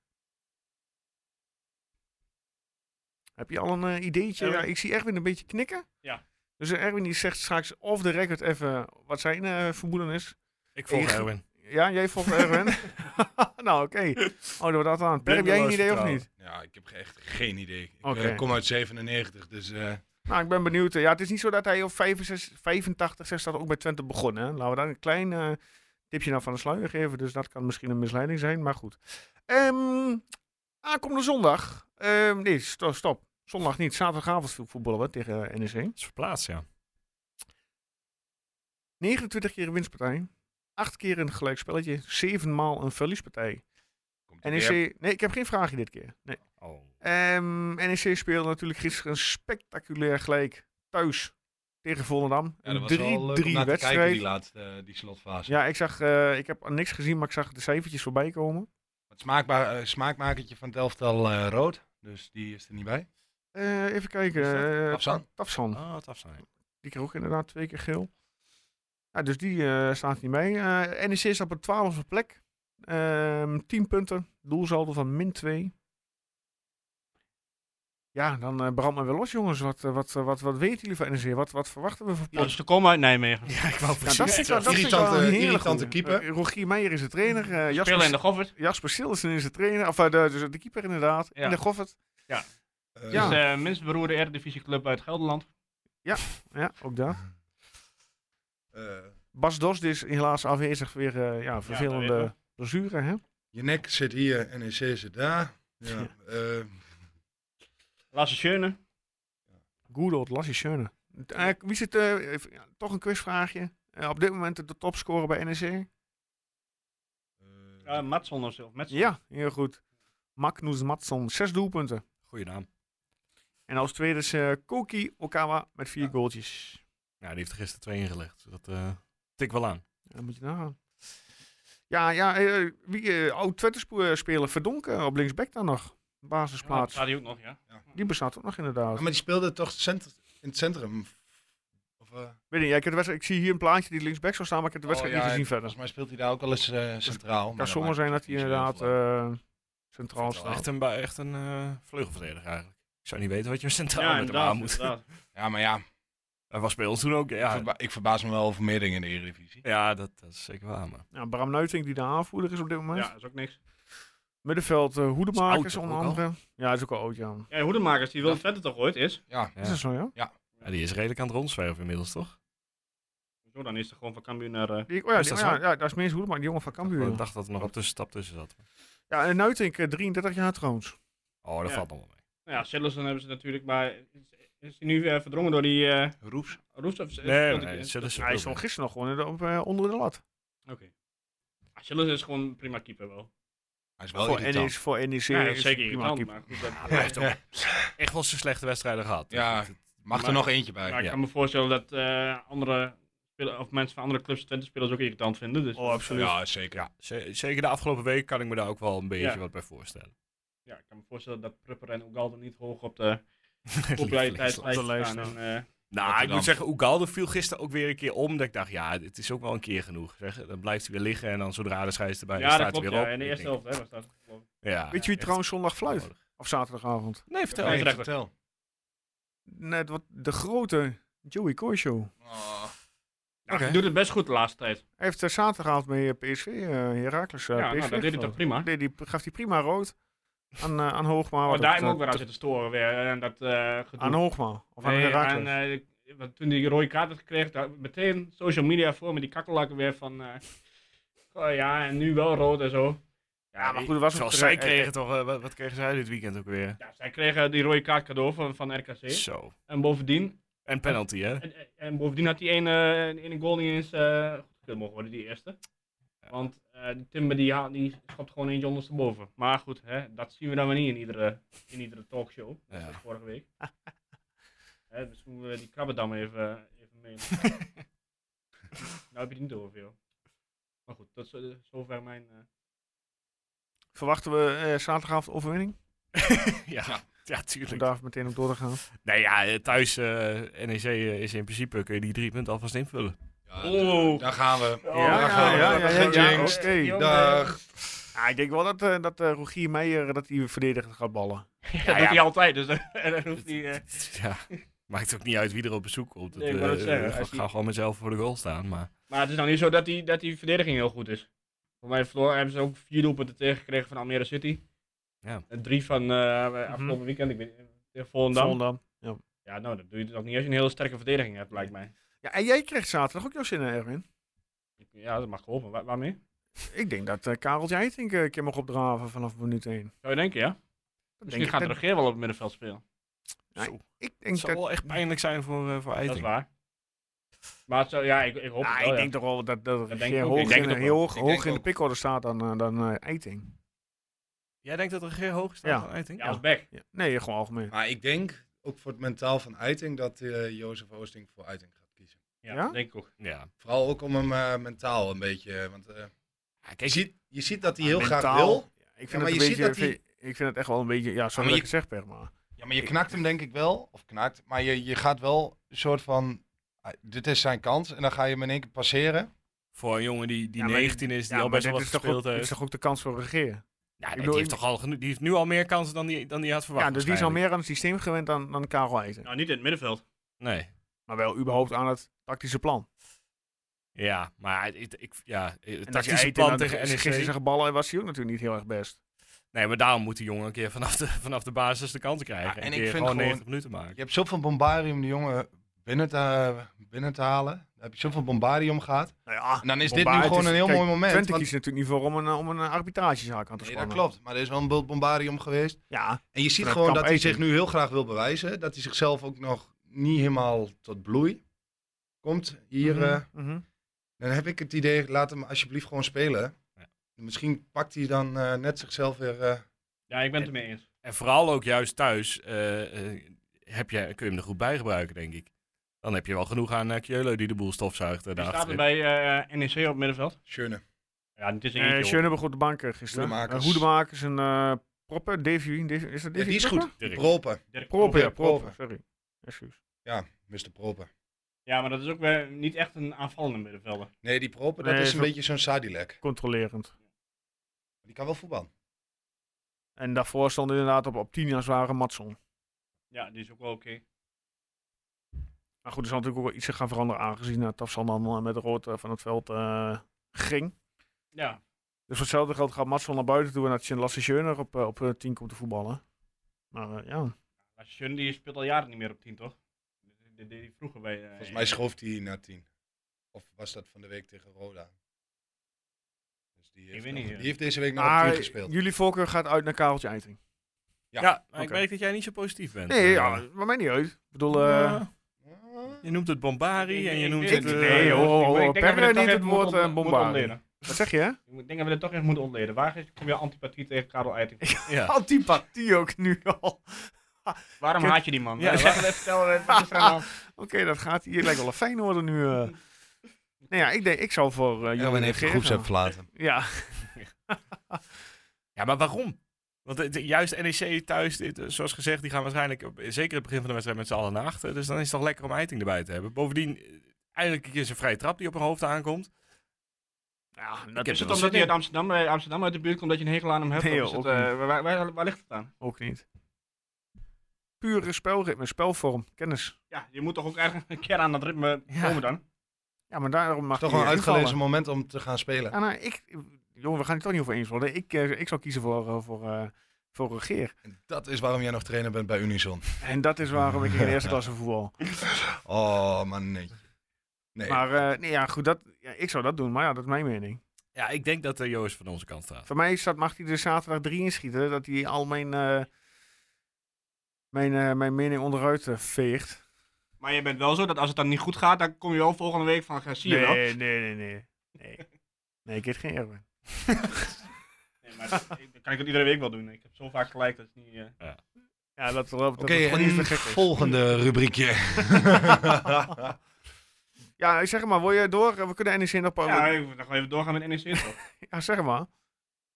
Heb je al een eh, ideetje? Erwin. Ja, ik zie Erwin een beetje knikken. Ja. Dus eh, Erwin die zegt straks off the record even wat zijn eh vermoeden is. Ik volg Ik- Erwin. Ja, jij volgt Erwin. nou, oké. Oh, dan wordt dat aan. Per, heb jij een Blindeloos idee of vertrouwen. niet? Ja, ik heb ge- echt geen idee. Ik Oké. eh, kom uit 97, dus eh, Nou, ik ben benieuwd. Ja, het is niet zo dat hij op 65, 85, 60 ook bij Twente begon. Hè? Laten we daar een klein eh, tipje nou van de sluier geven. Dus dat kan misschien een misleiding zijn, maar goed. Ehm aankomende zondag. Ehm, nee, sto- stop. Zondag niet. Zaterdagavond voetballen we tegen eh, NEC. Dat is verplaatst, ja. 29 keer een winstpartij. 8 keer een gelijkspelletje. 7 maal een verliespartij. komt er weer. NEC... E Nee, ik heb geen vraagje dit keer. Nee. Oh. Ehm, NEC speelde natuurlijk gisteren spectaculair gelijk thuis tegen Volendam. Ja, dat was wel leuk om Een 3-3 naar te kijken, die wedstrijd. laatste, eh, die slotfase. Ja, ik zag, eh, ik heb niks gezien, maar ik zag de cijfertjes voorbij komen. Het smaakbaar, eh, smaakmakertje van Delftal eh, rood, dus die is er niet bij. Eh, even kijken. Wie is dat? eh, Tafsan? Tafsan. Oh, wat afzijn. Die kreeg ook inderdaad twee keer geel. Ja, dus die eh, staat niet mee. Eh, NEC staat op een 12e plek. Ehm 10 punten. Doelsaldo van min 2. Ja, dan eh brandt men wel los, jongens. Wat, eh, wat, eh, wat, wat weten jullie van NEC? Wat, wat verwachten we van ja, dus ze komen uit Nijmegen. Ja, ik wou Ja, precies dat vind ik wel- dat vind ik wel Irritante- een hele irritante goeie. keeper. Eh, Rogier Meijer is de trainer. eh, Spelen in Jasper, de Goffert. Jasper Sillissen is de trainer. Of eh, de, dus de keeper inderdaad. Ja. In de Goffert. Eh, Ja. Dus de minst beroerde Eredivisie club uit Gelderland. Ja, ook daar. eh, Bas Dost is helaas afwezig. Weer eh, ja, dat vervelende weten blessure. Hè? je nek zit hier, NEC zit daar. Ja, Ja. eh, Lasse Schöne. Good old Lassie Schöne. Eh, wie zit, eh, even- ja, toch een quizvraagje. Eh, op dit moment de topscorer bij E NEC. eh, Ja, Matson of zo. of Matson. Ja, heel goed. Magnus Matson, zes doelpunten. Goeie naam. En als tweede is eh, Koki Okawa met vier goaltjes. Ja, die heeft er gisteren twee ingelegd. Dus dat eh tik wel aan. Dat moet je nagaan. Ja, ja eh, wie, eh, oud Twente-speler Verdonken op linksback dan nog. Ja, dat Basisplaats. staat hij ook nog, ja. Die bestaat ook nog inderdaad. maar die speelde toch cent- in het centrum? Of, eh, Weet niet, ja, ik, heb de wedstrijd, ik zie hier een plaatje die linksback zou staan, maar ik heb de wedstrijd Oh, ja, niet gezien verder. Volgens mij speelt hij daar ook al eens eh, centraal. Het kan zomaar zijn dat hij inderdaad eh, centraal Centraal. staat. Echt een, ba- echt een eh, vleugelverdediger eigenlijk. Ik zou niet weten wat je hem centraal Ja, met hem aan inderdaad. moet. inderdaad. eh, Ja, maar ja, Dat was bij ons toen ook. ik Ja, verba- ik verbaas me wel over meerdingen in de Eredivisie. ja dat, dat is zeker waar. Maar. Ja, Bram Nuitink die de aanvoerder is op dit moment. Ja, dat is ook niks. Middenveld eh Hoedemakers Is oud, onder ook al. andere. Ja, is ook al oud, ja. Ja, Hoedemakers, die wil Twente toch ooit is. Ja, Ja. Is dat zo, ja? Ja, die is redelijk aan het rondzwerven inmiddels, toch? Zo, dan is er gewoon van Cambuur naar... eh, Die, oh ja, Is die- dat ja, zo? ja, dat is Mees Hoedemak, die jongen van Ik Cambuur. dacht dat er nog een tussenstap tussen zat. Ja, en Nuitink, eh, 33 jaar trouwens. Oh, dat Ja. valt nog wel mee. nou ja, Sillerson hebben ze natuurlijk, maar... is- Is hij nu weer verdrongen door die... eh Roefs. Roest of... Nee, of- nee, nee, zullen ze Hij wel stond doen. gisteren nog gewoon in de- op, eh, onder de lat. Oké. Ah, Sillerson is gewoon een prima keeper wel. Hij is wel Voor E NEC, irritant. voor NEC Ja, is zeker prima irritant, keeper. maar goed, dat- Hij heeft ook echt wel zijn slechte wedstrijden gehad. Ja, Dus het- Mag er Maar- nog eentje bij. Ja, ik ja. kan me voorstellen dat eh, andere spelers, of mensen van andere clubs Twente spelers ook irritant vinden. Dus Oh, absoluut. Ja, zeker. Z- zeker de afgelopen week kan ik me daar ook wel een beetje Ja. wat bij voorstellen. ja, ik kan me voorstellen dat Prupper en Ugalde niet hoog op de Op de populariteit lijst staan. En, eh, Nou, ik Rotterdam. moet zeggen, Oegalde viel gisteren ook weer een keer om. Dat ik dacht, ja, het is ook wel een keer genoeg. Zeg. Dan blijft hij weer liggen en dan zodra de scheids erbij is, ja, dat staat hij klopt. weer Ja. op. In de Ik eerste denk, helft hè, was dat. geloof ik. Ja, Weet je wie echt trouwens zondag fluit? onnodig. Of zaterdagavond? Nee, vertel. Nee, eens. vertel. vertel. Net wat de grote Joey Coy Show. Oh, Ja, Oké. Hij doet het best goed de laatste tijd. Hij heeft eh, zaterdagavond mee eh, PSV, eh Heracles eh, ja, PSV nou, dat deed hij gespeeld. toch prima. Nee, die gaf hij prima rood aan, eh aan Hoogma. Oh, wat daar het, heb ik ook eh, weer aan zitten storen weer. En dat eh gedoe. Aan Hoogma. Of aan Nee, Heracles. aan, eh, want toen die rode kaart had gekregen, daar meteen social media voor met die kakkerlakken weer van. eh, oh ja, en nu wel rood en zo. ja, maar goed, dat was ook Zoals terecht. zij kregen toch, eh, wat, wat kregen zij dit weekend ook weer? Ja, zij kregen die rode kaart cadeau van, van RKC. Zo. En bovendien, En penalty, hè? en, en bovendien had die ene, eh, ene goal niet eens eh, goedgekeurd mogen worden, die eerste. Want eh, die Timber die, haalt- die schopt gewoon eentje ondersteboven. Maar goed, hè, dat zien we dan maar niet in iedere, in iedere talkshow. Ja. zoals vorige week. Hè, dus moeten we die krabbendam even, even mee. nou heb je het niet over, joh. Maar goed, dat is eh, zover mijn... eh, Verwachten we eh, zaterdagavond overwinning? ja. ja, Om tuurlijk. daar meteen op door te gaan. Nou ja, eh, thuis eh, NEC eh, is in principe, kun je die drie punten alvast invullen. ja, Oh. Daar gaan we. daar gaan dus, eh, ja, we. ja, Dat ja, gaat ja, James. oké. Ja, Jongen. Dag. ik denk wel dat, eh dat eh, Rogier Meijer eh, dat hij verdedigend gaat ballen. dat doet hij altijd, dus dan, dan hoeft hij... eh, Ja, maakt ook niet uit wie er op bezoek komt. Nee, ik wou net eh, zeggen, ik als ga die- gewoon mezelf voor de goal staan. Maar Maar het is nou niet zo dat die, dat die verdediging heel goed is. Voor mij verloren hebben ze ook vier doelpunten tegengekregen van Almere City. Ja. En drie van eh afgelopen Mhm. weekend, ik weet niet, tegen Volendam. Volendam. Ja, nou, dat doe je toch niet als je een hele sterke verdediging hebt, lijkt mij. Ja, en jij kreeg zaterdag ook jouw zin in, Erwin. Ja, dat mag geholpen. Wa- waarmee? Ik denk dat eh Karel Jeitink eh, een keer mag opdraven vanaf minuut 1. Zou je denken, ja? Dat denk Misschien ik, gaat de dat- regeer wel op het middenveld spelen. ik het denk zou dat, wel echt pijnlijk zijn voor, eh, voor Dat is Eiting. waar. Maar het zou, ja, ik, ik hoop Ah, het ik wel, Oh ja. denk toch wel dat, dat, denk Regeer ik ook. hoog Ik denk in, het ook heel hoog, Ik denk hoog in de ook. pickorder staat dan, eh, dan eh, Eiting. Jij denkt dat de regeer hoog staat Ja. dan Eiting? Ja, als back. Ja. Nee, gewoon algemeen. Maar ik denk, ook voor het mentaal van Eiting, dat eh, Jozef Oosting voor Eiting gaat kiezen. Ja, Ja? dat denk ik ook. Ja. Vooral ook om hem eh, mentaal een beetje... eh, Want eh, Ja, je, Kijk, ziet, je ziet dat hij heel graag Mentaal, wil. ja, ik, vind maar het je een beetje, ziet dat die- vind- ik vind het echt wel een beetje, ja, zo heb maar ik je- het gezegd, zeg maar. Ja, maar je knakt hem denk ik wel. Of knakt. Maar je, je gaat wel een soort van... ah, dit is zijn kans. En dan ga je hem in één keer passeren. voor een jongen die, die Ja, maar 19 is, die Ja, al maar best wel dit wat is toch ook- gespeeld dit is heeft. toch ook de kans voor Regeer? Ja, nee, bedoel, die, heeft ik- toch al genoeg, die heeft nu al meer kansen dan die, dan die had verwacht. ja, dus die is al waarschijnlijk. meer aan het systeem gewend dan, dan Karel Eiting. Nou, niet in het middenveld. Nee. Maar wel überhaupt aan het tactische plan. Ja, maar ik, ik, ja, het En als je tactische Eiting plan dan tegen E NEC. gisteren zijn ballen was hij ook natuurlijk niet heel erg best. Nee, maar daarom moet die jongen een keer vanaf de, vanaf de basis de kansen krijgen. Ja, en en een ik keer vind gewoon gewoon- 90 minuten maken. Je hebt zoveel bombarium om die jongen binnen te, binnen te halen. Daar heb je zoveel bombarium gehad. Nou ja, En dan is dit Bombaert nu gewoon een heel kijk, mooi moment. Twente want- kiest natuurlijk niet voor om een, eh, om een eh, arbitragezaak aan te Nee, spannen. dat klopt. Maar er is wel een bult bombarium geweest. Ja, En je ziet Vanuit gewoon Nou, kamp dat hij Eiting. zich nu heel graag wil bewijzen. Dat hij zichzelf ook nog niet helemaal tot bloei komt. Hier, Mhm, eh, mhm. dan heb ik het idee, laat hem alsjeblieft gewoon spelen. Ja. Misschien pakt hij dan eh, net zichzelf weer... eh, Ja, ik ben het ermee eens. En vooral ook juist thuis eh, eh, heb je, kun je hem er goed bij gebruiken, denk ik. Dan heb je wel genoeg aan uh, die de boel stofzuigt. eh, Die staat daarachter. er bij eh, NEC op het middenveld. Schöne. Ja, het is een Eh, eentje. Schöne begon op de banken gisteren. Hoedemakers. Eh, Hoedemakers en eh Proppen. Davy, Davy- is dat Davy Ja, die is Proppen? goed. Dirk. Propen. hoor. Dirk Proppen, ja, Proppen, ja, Proppen. Sorry. Excuus. Ja, Mr. Propen. Ja, maar dat is ook weer niet echt een aanvallende middenvelder. Nee, die Propen, dat Nee, is is een ook- beetje zo'n Sadilek. Controlerend. Die kan wel voetbal. En daarvoor stond inderdaad op, op 10 jaar zware Matson. Ja, die is ook wel oké. Maar goed, er zal natuurlijk ook wel iets gaan veranderen aangezien uh, Tafsan dan eh, met rood eh, van het veld eh, ging. Ja. Dus voor hetzelfde geld gaat Matson naar buiten toe en dat Lasse Schöner op, eh, op eh, 10 komt te voetballen. Maar eh, ja, Maar Schöne, die speelt al jaren niet meer op 10, toch? Dat deed hij vroeger bij... eh, E Volgens mij schoof hij naar 10. Of was dat van de week tegen Roda? Dus die heeft, weet nog- niet, ja. die heeft deze week nog op maar 10 eh, gespeeld. jullie voorkeur gaat uit naar Kareltje Eiting. Ja, Ja, maar ik oké. merk dat jij niet zo positief bent. Nee, Eh, ja, maar mij niet uit. Ik bedoel, eh, ja, Ah. je noemt het Bombari en je Ik- noemt ik- het, het... eh, ik- nee, ik- hoor, hoor, ik- hoor. ik denk dat we Perker dit toch neemt even het woord, moeten eh, ont- moeten Bombari. ontleden. wat zeg je hè? Ik denk dat we dit toch even moeten ontleden. Waar is- kom je antipathie tegen Karel Eiting? ja. Antipathie ook nu al. Waarom Kut. haat je die man? Ja, Ja, laten we even vertellen wat is er aan de hand. Oké, dat gaat. Hier lijkt wel een Feyenoorder nu. eh. Nou ja, ik, denk, ik zou voor eh Johan Johan heeft de Geerts groepsapp gaan. verlaten. Ja, Ja, maar waarom? Want het- juist NEC thuis, dit, eh, zoals gezegd, die gaan waarschijnlijk op- eh, zeker het begin van de wedstrijd met z'n allen naar achter. Dus dan is het toch lekker om Eiting erbij te hebben. Bovendien, eh, eigenlijk een keer zijn vrije trap die op hun hoofd aankomt. ja heb dat is er Is het wel omdat zin hij uit in. Amsterdam, eh, Amsterdam uit de buurt komt dat je een hekel aan hem hebt? Nee, Of is joh, het, ook eh, waar, waar, waar- waar ligt het aan? Ook niet. Pure spelritme, spelvorm, kennis. Ja, je moet toch ook ergens een keer aan dat ritme komen dan? Ja, maar daarom mag Toch hij wel een eh, invallen. uitgelezen moment om te gaan spelen. Ja, nou, ik, jongen, we gaan het toch niet over eens worden. Ik, eh, ik zou kiezen voor, eh, voor, eh, voor Regeer. En dat is waarom jij nog trainer bent bij Unison. En dat is waarom ik in de eerste klasse voetbal. Oh, man, nee. Nee. Maar eh, nee, ja, goed, dat, ja, ik zou dat doen, maar ja, dat is mijn mening. Ja, ik denk dat Joost van onze kant staat. Voor mij staat, mag hij er zaterdag drie inschieten, dat hij al mijn, eh, mijn, eh, mijn mening onderuit eh, veegt. Maar je bent wel zo dat als het dan niet goed gaat, dan kom je wel volgende week van, ja, zie je wel. nee, nee, nee, nee. Nee, nee ik heet geen Erwin. Nee, maar dat- ik- dat kan ik het iedere week wel doen. Ik heb zo vaak gelijk dat het niet... eh, Ja, dat loopt Oké, dat het gewoon niet en te gek is. volgende rubriekje. Ja, zeg maar, wil je door? We kunnen NEC nog... Ja, Ja, ik moet nog wel even doorgaan met E NEC toch? ja, zeg maar.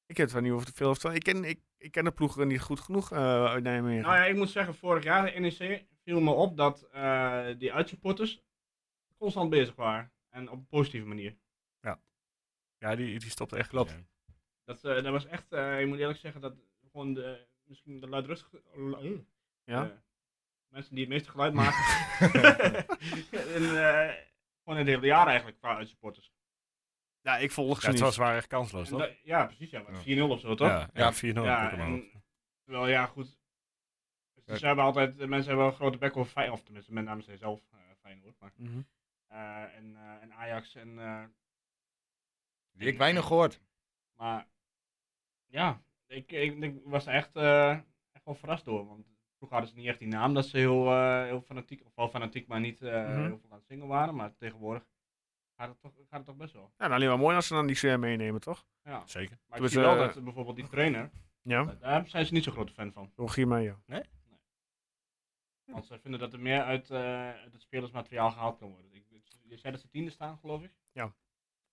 Ik heb het wel niet over te veel of te Ik ken, ik, ik ken de ploeg niet goed genoeg eh uit Nijmegen. nou ja, ik moet zeggen, vorig jaar NEC viel me op dat eh, die uitsupporters constant bezig waren. En op een positieve manier. Ja, die, die stopt echt. Klopt. niet, Dat, eh, dat was echt, eh, ik moet eerlijk zeggen, dat gewoon de, misschien de luidrustige... lu- Ja? eh, mensen die het meeste geluid maken. en, eh, gewoon het hele jaar eigenlijk qua uitsupporters. Ja, ik volg hè. Ja, het was waar echt kansloos, En toch? dat- Ja, precies. Ja, maar Ja. 4-0 of zo, toch? Ja, Ja. ja 4-0. Ja, ook allemaal. en- Terwijl, ja, goed. Dus Ja. ze hebben altijd, de mensen hebben een grote bek over Feyenoord, of tenminste, met name zijzelf eh Feyenoord. Maar, Mhm. eh, en, eh, en Ajax. En, eh, Die ik weinig gehoord. maar ja, ik, ik, ik was er echt, eh, echt wel verrast door. Want vroeger hadden ze niet echt die naam dat ze heel, eh, heel fanatiek, of wel fanatiek, maar niet eh, Mhm. heel veel aan het zingen waren. Maar tegenwoordig gaat het toch, gaat het toch best wel. Ja, dan alleen maar mooi als ze dan die sfeer meenemen, toch? Ja. Zeker. Toen Maar ik is, zie wel eh, dat eh, bijvoorbeeld die trainer, Ja, daar zijn ze niet zo'n grote fan van. Rogier Meijer. Want ze vinden dat er meer uit, eh, uit het spelersmateriaal gehaald kan worden. Ik, je zei dat ze tiende staan, geloof ik. Ja,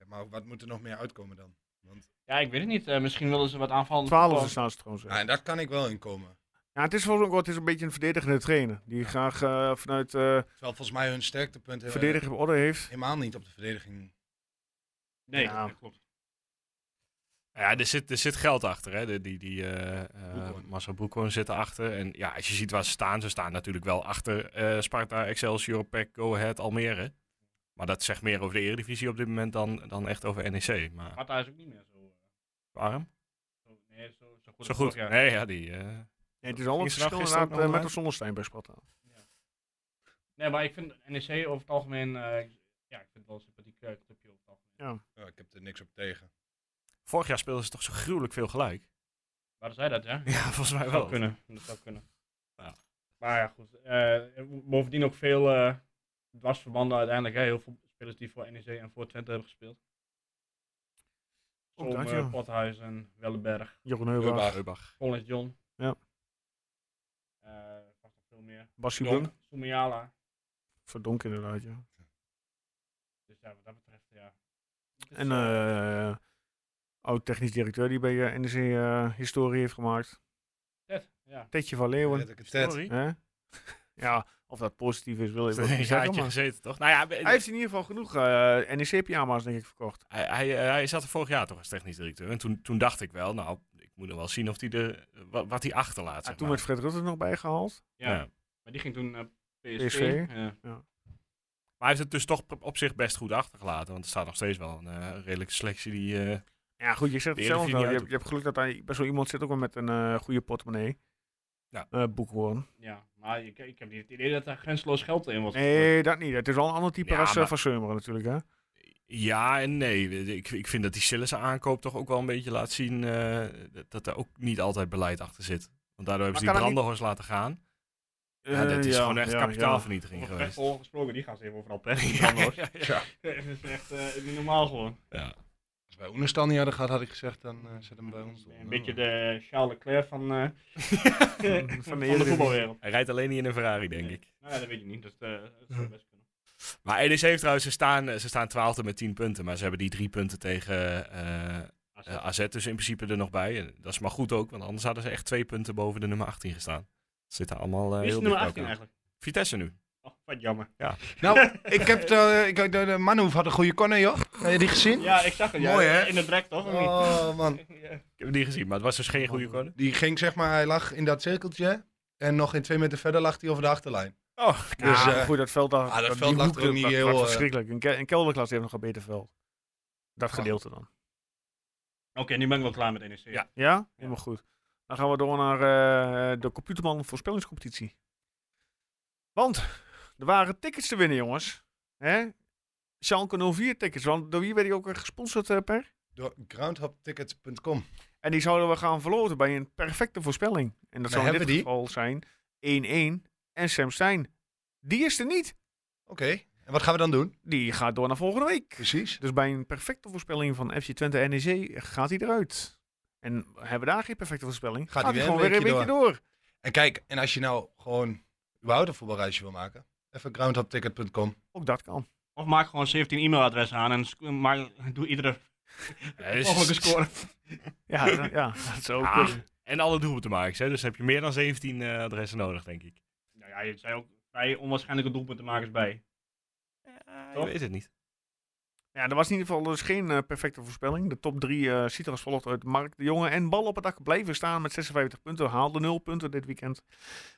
maar wat moet er nog meer uitkomen dan? Want, Ja, ik weet het niet. Eh, misschien willen ze wat aanvallen. Twaalfde staan ze trouwens. ja, en daar kan ik wel in komen. Ja, het is volgens mij ook wel- het is een beetje een verdedigende trainer. Die graag eh, vanuit eh Terwijl volgens mij hun sterktepunt hebben- verdedigende orde heeft. helemaal niet op de verdediging. Nee, Ja. dat klopt. Ja, er zit, er zit geld achter. Hè. De, die die eh eh Broekhoorn. Marcel Broekhoorn zit erachter. En ja, als je ziet waar ze staan, ze staan natuurlijk wel achter eh, Sparta, Excelsior, PEC, Go Ahead, Almere. Maar dat zegt meer over de Eredivisie op dit moment dan, dan echt over NEC. Maar Marta is ook niet meer zo. eh, waarom? zo nee, zo, zo goed. als Zo goed. vorig jaar. Nee, ja, die... eh, Nee, het is al een Gisteren- verschil gisteren inderdaad ook eh, nog met de uit. Zonnestein bij Sparta. Nee, maar ik vind NEC over het algemeen. eh, ja, ik vind het wel een sympathiek eh, clubje over het algemeen. Ja, ik heb er niks op tegen. Vorig jaar speelden ze toch zo gruwelijk veel gelijk? Waren zij dat, ja? Ja, volgens mij Dat wel. zou kunnen. Dat zou kunnen. Ja. Maar ja, goed. eh, bovendien ook veel eh dwarsverbanden uiteindelijk. Hè? Heel veel spelers die voor NEC en voor Twente hebben gespeeld. Ook dat, Zomer, ja. Pothuizen, Wellenberg, Jeroen Heubach, Heubach. Collins John. Ja. Eh, vast nog veel meer. Bassi Donk. Blum. Sumiala. Verdonk inderdaad, ja. Dus ja, wat dat betreft, ja. Het is, En eh, eh oud technisch directeur die bij eh, NEC eh, historie heeft gemaakt. Ted, ja. Tetje van Leeuwen. Red ik het vet. Sorry. Hè? ja, of dat positief is, wil ik Heeft ook een niet zeggen. jaartje maar- gezeten, toch? Nou ja, Hij hij, heeft in ieder geval genoeg eh NEC-pyjama's, denk ik, verkocht. hij, hij, eh, hij zat er vorig jaar toch als technisch directeur. En toen, toen dacht ik wel, nou, ik moet nog wel zien of hij de, wat, wat hij achterlaat. En zeg toen maar. werd Fred Rutte er nog bijgehaald. ja. Ja. Maar die ging toen naar PSV. PSV. Ja. Maar hij heeft het dus toch pr- op zich best goed achtergelaten. Want er staat nog steeds wel een eh, redelijke selectie die... eh, Ja, goed, je zegt De het hele zelf vier wel. Je niet hebt, je hebt geluk dat hij bij zo iemand zit ook wel met een eh, goede portemonnee. Ja. Eh, boekhoorn. ja. Maar ik, ik heb niet het idee dat er grensloos geld in was. Nee, dat niet. Het is wel een ander type Ja, als eh, maar- Van Seumeren natuurlijk, hè? ja en nee. Ik, ik vind dat die Sillissen aankoop toch ook wel een beetje laat zien... eh, dat- dat er ook niet altijd beleid achter zit. Want daardoor hebben ze Maar die kan dat brandenhorst laten gaan. Ja, dat Eh, is ja, gewoon echt ja, Oh, kapitaalvernietiging Over geweest. Pechpol gesproken, die gaan ze even overal pech. ja, ja. Dat is echt eh, niet normaal gewoon. Ja. Dat wij Oenestal niet hadden gehad, had ik gezegd, dan eh, zet hem bij ons Een onder, beetje maar- de Charles Leclerc van, eh, van de voetbalwereld. Hij rijdt alleen niet in een Ferrari, denk ik. Nou ja, dat weet je niet. Dat, eh, dat zou best kunnen. Maar EDC heeft trouwens, ze staan, ze staan twaalfde met 10 punten, maar ze hebben die drie punten tegen eh, eh, AZ. AZ dus in principe er nog bij. En dat is maar goed ook, want anders hadden ze echt twee punten boven de nummer 18 gestaan. Ze zitten allemaal eh Wie is heel de nummer dicht 18 bij elkaar. eigenlijk? Vitesse nu. Oh, wat jammer. Nou, ik heb de, ik, de, de Manhoef had een goede corner, joh. Heb je die gezien? Ja, ik zag het. Ja, Mooi, hè? In het drek toch? of niet? Oh, man. Ja. Ik heb het niet gezien, maar het was dus geen goede corner. Die ging, zeg maar, hij lag in dat cirkeltje. En nog in twee meter verder lag hij over de achterlijn. Oh, Dus, ja, eh, goed, dat veld, daar, ah, dat die veld lag hoek, er ook dat- niet dat heel, lag eh, verschrikkelijk. Een, ke- een kelderklas heeft nog een beter veld. Dat Ja. gedeelte dan. Oké, nu ben ik wel klaar met E NEC. Ja. Ja? Helemaal goed. Dan gaan we door naar eh, de Computerman voorspellingscompetitie. Want er waren tickets te winnen, jongens. Hè? Schalke 04 tickets, want door wie werd die ook weer gesponsord, eh, Per? Door groundhoptickets.com. En die zouden we gaan verloten bij een perfecte voorspelling. En dat Maar zou in dit hebben die? geval zijn 1-1 en Sam Stein. Die is er niet. Oké, en wat gaan we dan doen? Die gaat door naar volgende week. Precies. Dus bij een perfecte voorspelling van FC Twente NEC gaat hij eruit. En hebben we daar geen perfecte voorspelling, gaat Gaat hij hij gewoon weer weer een een weekje door. En kijk, en als je nou gewoon überhaupt een voetbalreisje wil maken, even groundhopticket.com. Ook dat kan. Of maak gewoon 17 e-mailadressen aan en sc- maar doe iedere Oh. Eh, dus- mogelijke score. Ja, dat- ja dat zou ook eh, Ah. kunnen. En alle doelpuntenmakers, hè? dus heb je meer dan 17 eh, adressen nodig, denk ik. Nou ja, je zei ook bij onwaarschijnlijke doelpuntenmakers bij. ik Toch? weet het niet. Ja, er was in ieder geval dus geen eh, perfecte voorspelling. De top drie eh ziet er als volgt uit. Mark de Jonge en Bal op het dak bleven staan met 56 punten. Haalde 0 punten dit weekend.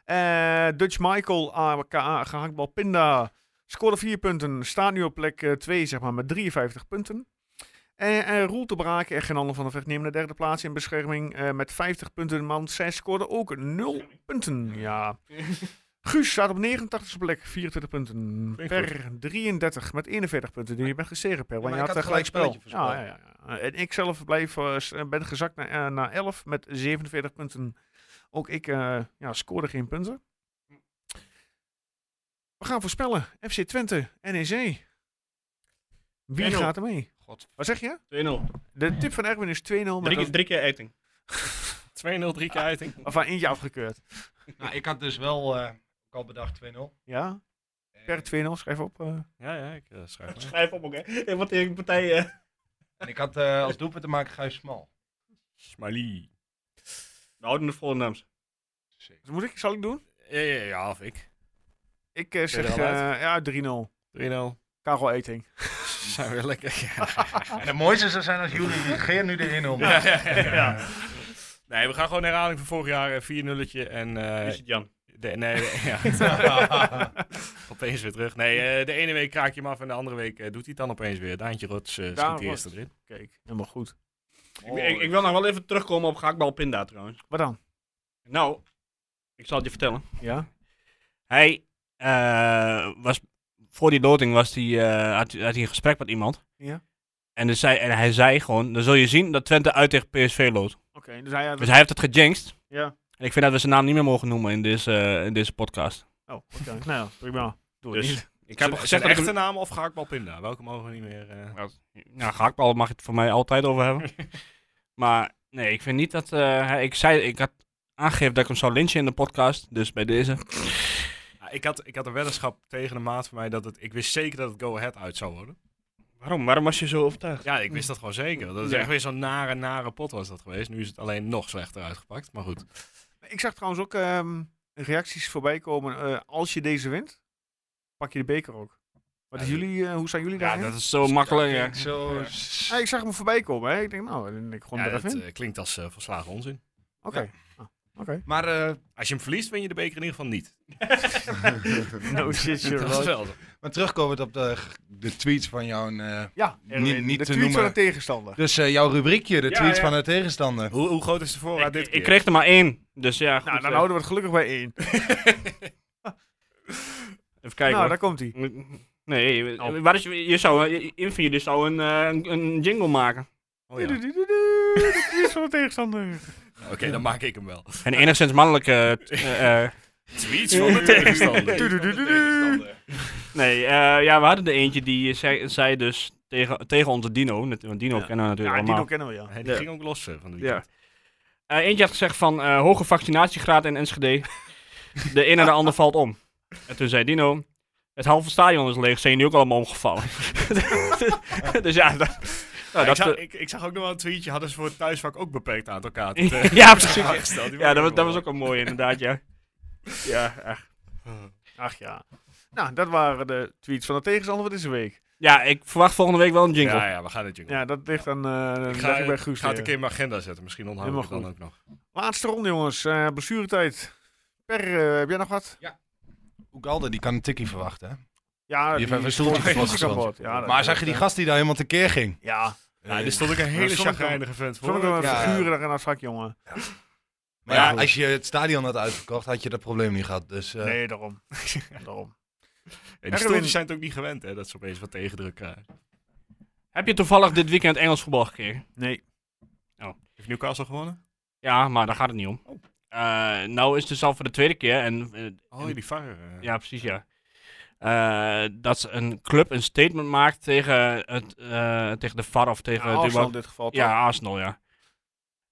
Eh, Dutch Michael, AKA gehaktbal Pinda, scoorde 4 punten. Staat nu op plek 2, zeg maar, met 53 punten. En en Roel te braken en geen ander van de vecht nemen de derde plaats in bescherming eh, met 50 punten. Man 6 scoorde ook 0 punten. Ja. Guus staat op 89 plek, 24 punten. Vind ik Per 33 met 41 punten. Dus je bent gestegen, Per. Ja, Want maar je had, ik had eh, gelijk spel. gelijk Ja, spelletje voorspeld. ja, ja. En ik zelf blijf, eh, s- eh, ben gezakt naar, eh, naar 11 met 47 punten. Ook ik eh, ja, scoorde geen punten. We gaan voorspellen. FC Twente, NEC. Wie 1-0. gaat er mee? God. Wat zeg je? 2-0. De tip van Erwin is 2-0. Drie, met keer- drie keer eting. 2-0, drie keer uiting. een- Of aan eentje afgekeurd. Nou, ik had dus wel eh, ook al bedacht 2-0. Ja, En- per 2-0. Schrijf op. eh. Ja, ja, ik eh, schrijf maar. Schrijf op ook, hè. Wat die partij... eh, En ik had eh, als doelpunt te maken Gijs Smal. Smiley. We houden het vol in Nams. Dus moet ik, zal ik doen? Ja, ja, ja, of ik. 3-0. Ik eh, zeg er al eh, ja, 3-0. Karel Eting. Zijn we weer lekker. En het mooiste zou zijn als jullie reageren nu de 1-0. Ja, ja, ja. Nee, we gaan gewoon herhaling van vorig jaar. eh, 4-0'tje en... eh, Is het Jan? de, nee, ja. opeens weer terug. Nee, eh, de ene week kraak je hem af en de andere week eh, doet hij het dan opeens weer. Daantje Rots eh schiet Daan de eerste Rots. erin. Kijk, helemaal goed. Ik, ik, ik wil nog wel even terugkomen op gehaktbal Pinda trouwens. Wat dan? Nou, ik zal het je vertellen. Ja? Hij eh, was... Voor die loting was die, eh, had, had hij een gesprek met iemand. Ja. En, dus zei, en hij zei gewoon, dan zul je zien dat Twente uit tegen PSV loopt. Oké, dus hij had... Dus hij heeft het gejinxed. Ja. En ik vind dat we zijn naam niet meer mogen noemen in deze, eh, in deze podcast. Oh, oké. nou, prima. Doe het Dus- niet. Ik Zijn- heb al gezegd zijn dat ik echte hem- naam of gehaktbal Pinda? Welke mogen we niet meer... eh, Nou, gehaktbal mag je het voor mij altijd over hebben. maar nee, ik vind niet dat... eh, hij- ik, zei, ik had aangegeven dat ik hem zou lynchen in de podcast. Dus bij deze. Ja, ik, had, ik had een weddenschap tegen een maat van mij dat het. Ik wist zeker dat het Go Ahead uit zou worden. Waarom? Waarom was je zo overtuigd? Ja, ik wist dat gewoon zeker. Dat is Ja. echt weer zo'n nare, nare pot was dat geweest. Nu is het alleen nog slechter uitgepakt. Maar goed. Ik zag trouwens ook ehm, reacties voorbij komen. eh, als je deze wint, pak je de beker ook. Wat Ja, is jullie, eh, hoe zijn jullie Ja, daar? dat is zo makkelijk. hè. Zo... ik zag hem voorbij komen. Hè? Ik denk, nou, dan denk ik gewoon Ja, er dat even in. eh, klinkt als eh, volslagen onzin. Oké. ja. Ah, Oké. Maar eh, Als je hem verliest, win je de beker in ieder geval niet. No shit, Dat is wel zo. Maar terugkomend op de, de tweets van jouw... eh, Ja, Niet- Erwin, niet de te tweet van noemen. de tegenstander. dus eh, jouw rubriekje, de Ja, tweets ja. van de tegenstander. Hoe, hoe groot is de voorraad Ik, dit keer? ik kreeg er maar één. Dus ja, goed. Nou, dan eh, houden we het gelukkig bij één. Even kijken. nou, hoor. daar komt hij. Nee, we- waar is, je zou, eh, je- een van jullie zou een, eh, een, een jingle maken. Oh, ja. Oké, De tweet van de tegenstander. dan maak ik hem wel. Een enigszins mannelijke... t- eh, eh, Tweets van de tegenstander. Tududududu. nee, eh, ja, we hadden er eentje die zei, zei dus tegen, tegen onze Dino. net- Want Dino Ja. kennen we Ja, natuurlijk die nog kennen allemaal. we, ja. Hij Ja. ging ook los eh, van de Ja. weekend. Eh, eentje had gezegd van eh, hoge vaccinatiegraad in Enschede. De een en de ander valt om. En toen zei Dino, het halve stadion is leeg, zijn jullie ook allemaal omgevallen. dus ja, dat, nou, ik, dat, zag, eh, ik, ik zag ook nog wel een tweetje, hadden ze voor het thuisvak ook beperkt aantal kaarten. te- ja, precies. aangesteld. Die Ja, dat, was- waren dat was ook een mooie inderdaad, ja. Ja, ach. Ach ja. Nou, dat waren de tweets van de tegenstander van deze week. ja, ik verwacht volgende week wel een wel- jingle. Ja, ja, we gaan het jingle. Ja, dat ligt aan eh ik leg ga, ik bij Guus ik ga het een neer. keer in mijn agenda zetten. Misschien onthouden we het dan Helemaal ook nog. Laatste ronde, jongens. Eh blessuretijd. Per, eh, heb jij nog wat? Ugalde, die kan een tikkie verwachten. Hè? Ja, Die heeft even een stoeltje die- die- vastgezet. die- die- die- die- die- die- Maar zag je die gast die daar helemaal tekeer ging? eh, Eh, Ja, Ja, er stond ook een hele sommige- chagrijnige vent voor. sommige Ja, ja. figuren daar in dat vak, jongen. Maar ja, Ja. als je het stadion had uitverkocht, had je dat probleem niet gehad. Dus eh, Nee, daarom. daarom. En die Erwin. stoeltjes zijn het ook niet gewend, hè, dat ze opeens wat tegendruk eh, krijgen. Heb je toevallig dit weekend Engels voetbal gekregen? Nee. Heeft Newcastle gewonnen? Ja, maar daar gaat het niet om. Eh, nou is het dus al voor de tweede keer en eh, Oh, die VAR. eh. Ja, precies, ja. Eh, dat ze een club een statement maakt tegen, het, eh, tegen de VAR of Oh, tegen... Ja, de- Arsenal in dit geval. toch. ja, Arsenal, ja.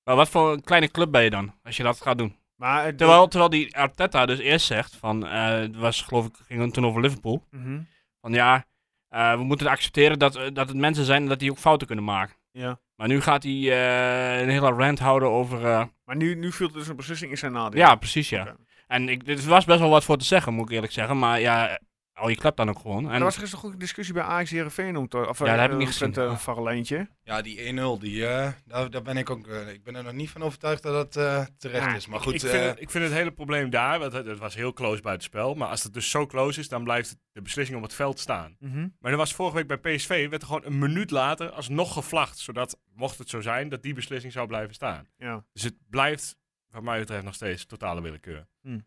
Maar wat voor een kleine club ben je dan, als je dat gaat doen? Maar eh, het Terwijl, terwijl die Arteta dus eerst zegt van... eh, het was geloof ik, ging het toen over Liverpool. Mhm. Van ja, eh, we moeten accepteren dat, eh, dat het mensen zijn en dat die ook fouten kunnen maken. Ja. Maar nu gaat hij eh, een hele rant houden over... eh, Maar nu, nu viel er dus een beslissing in zijn nadeel. ja, precies, ja. Oké. En ik, er was best wel wat voor te zeggen, moet ik eerlijk zeggen. Maar ja, al je klap dan ook gewoon. En, Er was gisteren ook een discussie bij Ajax Heerenveen om te... Of, eh, Ja, dat heb ik niet gezien. Een varrelijntje. ja, die 1-0, die, eh, daar, daar ben ik ook. eh, ik ben er nog niet van overtuigd dat dat eh, terecht Ja, is. Maar goed, ik, vind eh, het, ik vind het hele probleem daar, want het, het was heel close bij het spel. Maar als het dus zo close is, dan blijft de beslissing op het veld staan. Mhm. Maar er was vorige week bij PSV, werd er gewoon een minuut later alsnog gevlacht. Zodat, mocht het zo zijn, dat die beslissing zou blijven staan. Ja. Dus het blijft, wat mij betreft, nog steeds totale willekeur. Hm.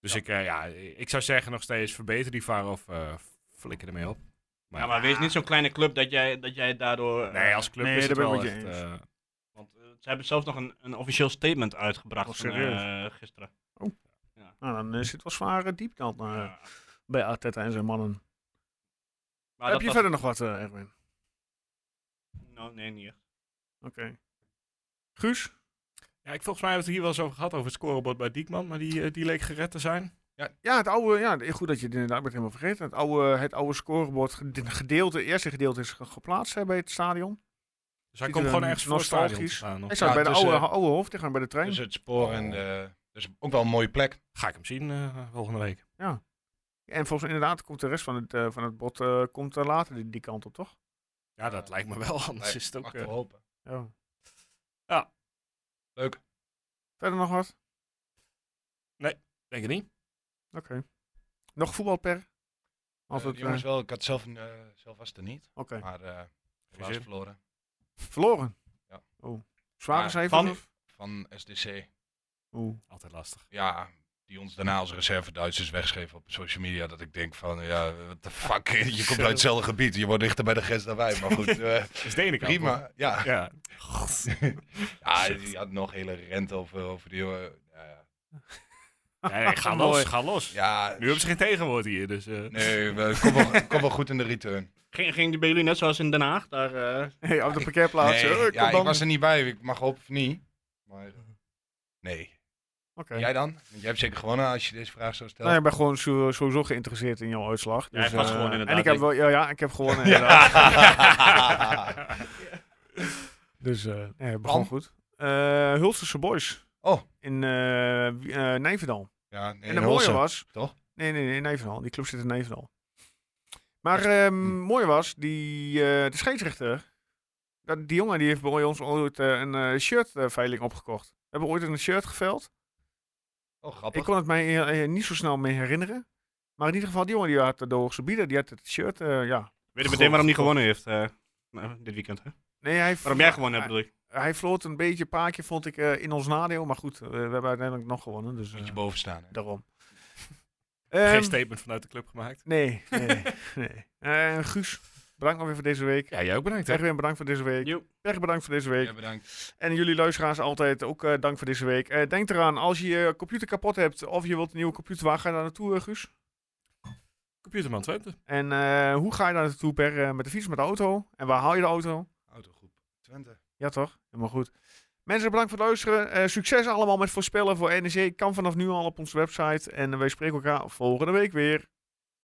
Dus Ik, eh, ja, ik zou zeggen nog steeds, verbeter die VAR of eh, flikker ermee op. Maar, Ja, maar wees niet zo'n kleine club dat jij, dat jij daardoor... eh, nee, als club Nee, is het daar ben ik wel met echt... je eh, Want eh, ze hebben zelfs nog een, een officieel statement Oh, uitgebracht van, serieus? eh, gisteren. Nou, dan eh, zit wel zware diepkant eh, Ja. bij Arteta en zijn mannen. Maar heb dat je was- verder nog wat, eh, Erwin? Oké. Nou, nee, niet echt. Guus? ja, ik, volgens mij hebben we het hier wel eens over gehad, over het scorebord bij Diekman. Maar die, eh, die leek gered te zijn. Ja, het oude, ja, goed dat je het inderdaad met helemaal vergeten. Het oude, het oude scorebord, gede- gedeelte, het eerste gedeelte is ge- geplaatst hè, bij het stadion. Dus hij Ziet komt er gewoon een ergens voor het stadion te nostalgisch- staan. dus, Hij Of- staat Ja, bij de tussen- eh, oude, eh, oude hoofdingang bij de trein. dus het spoor en de. Dus ook wel een mooie plek. Ga ik hem zien eh, volgende week. En volgens mij inderdaad komt de rest van het, eh, van het bod eh, komt, eh, later die, die kant op, toch? Ja, dat lijkt me wel, anders Nee, is het ook... mag toch eh, hopen. Ja. Ja. Leuk. Verder nog wat? denk ik niet. Oké. Nog voetbalper? Als Eh, het, jongens eh, wel, ik had zelf, een, eh, zelf was het er niet. Oké. Maar eh helaas zin. verloren Verloren? Ja. Oh. Zware Maar cijfers? van- of? van SDC. Oeh. Altijd lastig. Ja, die ons daarna als reserve Duitsers wegschreven op social media. Dat ik denk van, ja, what the fuck. Je komt uit hetzelfde gebied. Je wordt dichter bij de grens dan wij. Maar goed, eh, Is de ene kant op. prima. Ja, Ja. ja die had nog hele rente over, over die... eh, ja, Nee, nee, ga Mooi. los, ga los. ja, Nu hebben ze geen tegenwoord hier, dus... eh, nee, we kom wel, kom wel goed in de return. Ging, ging die bij jullie net zoals in Den Haag? Daar, eh, Hey, op de parkeerplaats. Nee, eh, kom ja, ik dan. was er niet bij. Ik mag hopen of niet. Maar, eh, nee. Oké. Jij dan? Want jij hebt zeker gewonnen als je deze vraag zou stellen. Nou, ik ben gewoon zo- sowieso geïnteresseerd in jouw uitslag. Ja, hij Dus, was eh, gewoon inderdaad, En ik heb ik- wel, ja, ja, ik heb gewonnen inderdaad. Ja. Dus, eh ja, het Bram? begon goed. Eh Hulsterse Boys. Oh. In eh Wie- eh, Nijverdal. ja, nee, Oh, en het Hulsen. mooie was... toch? Nee, nee, nee, Nijverdal. Die club zit in Nijverdal. Maar ehm hm. mooi was, die, eh, de scheidsrechter, dat, die jongen die heeft bij ons ooit eh, een eh, shirt eh, veiling opgekocht. We hebben ooit een shirt geveild. Oh, grappig. Ik kon het mij eh, eh, niet zo snel mee herinneren. Maar in ieder geval, die jongen die had de hoogste bieden, die had het shirt, eh, ja. Goh, Weet je meteen waarom goh. hij gewonnen heeft eh, nou, dit weekend, hè? Nee, hij Waarom jij gewonnen hebt, bedoel ik. Hij, hij floot een beetje paakje, vond ik, eh, in ons nadeel. Maar goed, eh, we hebben uiteindelijk nog gewonnen, dus eh, Moet je boven staan. hè? daarom. geen Ehm, statement vanuit de club gemaakt. nee, nee, nee. Eh, Guus, bedankt nog weer voor deze week. Ja, jij ook bedankt, hè? Erwin, bedankt voor deze week. Jo. Pech, bedankt voor deze week. Ja, bedankt. En jullie luisteraars altijd ook eh, dank voor deze week. Eh, denk eraan, als je je computer kapot hebt of je wilt een nieuwe computer, waar ga je daar naartoe, eh, Guus? Computerman Twente. En eh, hoe ga je daar naartoe, Per? Eh, met de fiets, met de auto? En waar haal je de auto? Autogroep Twente. Ja, toch? Helemaal goed. Mensen, bedankt voor het luisteren. Eh, succes E eh, allemaal met voorspellen voor NEC. Kan vanaf nu al op onze website. En wij spreken elkaar volgende week weer.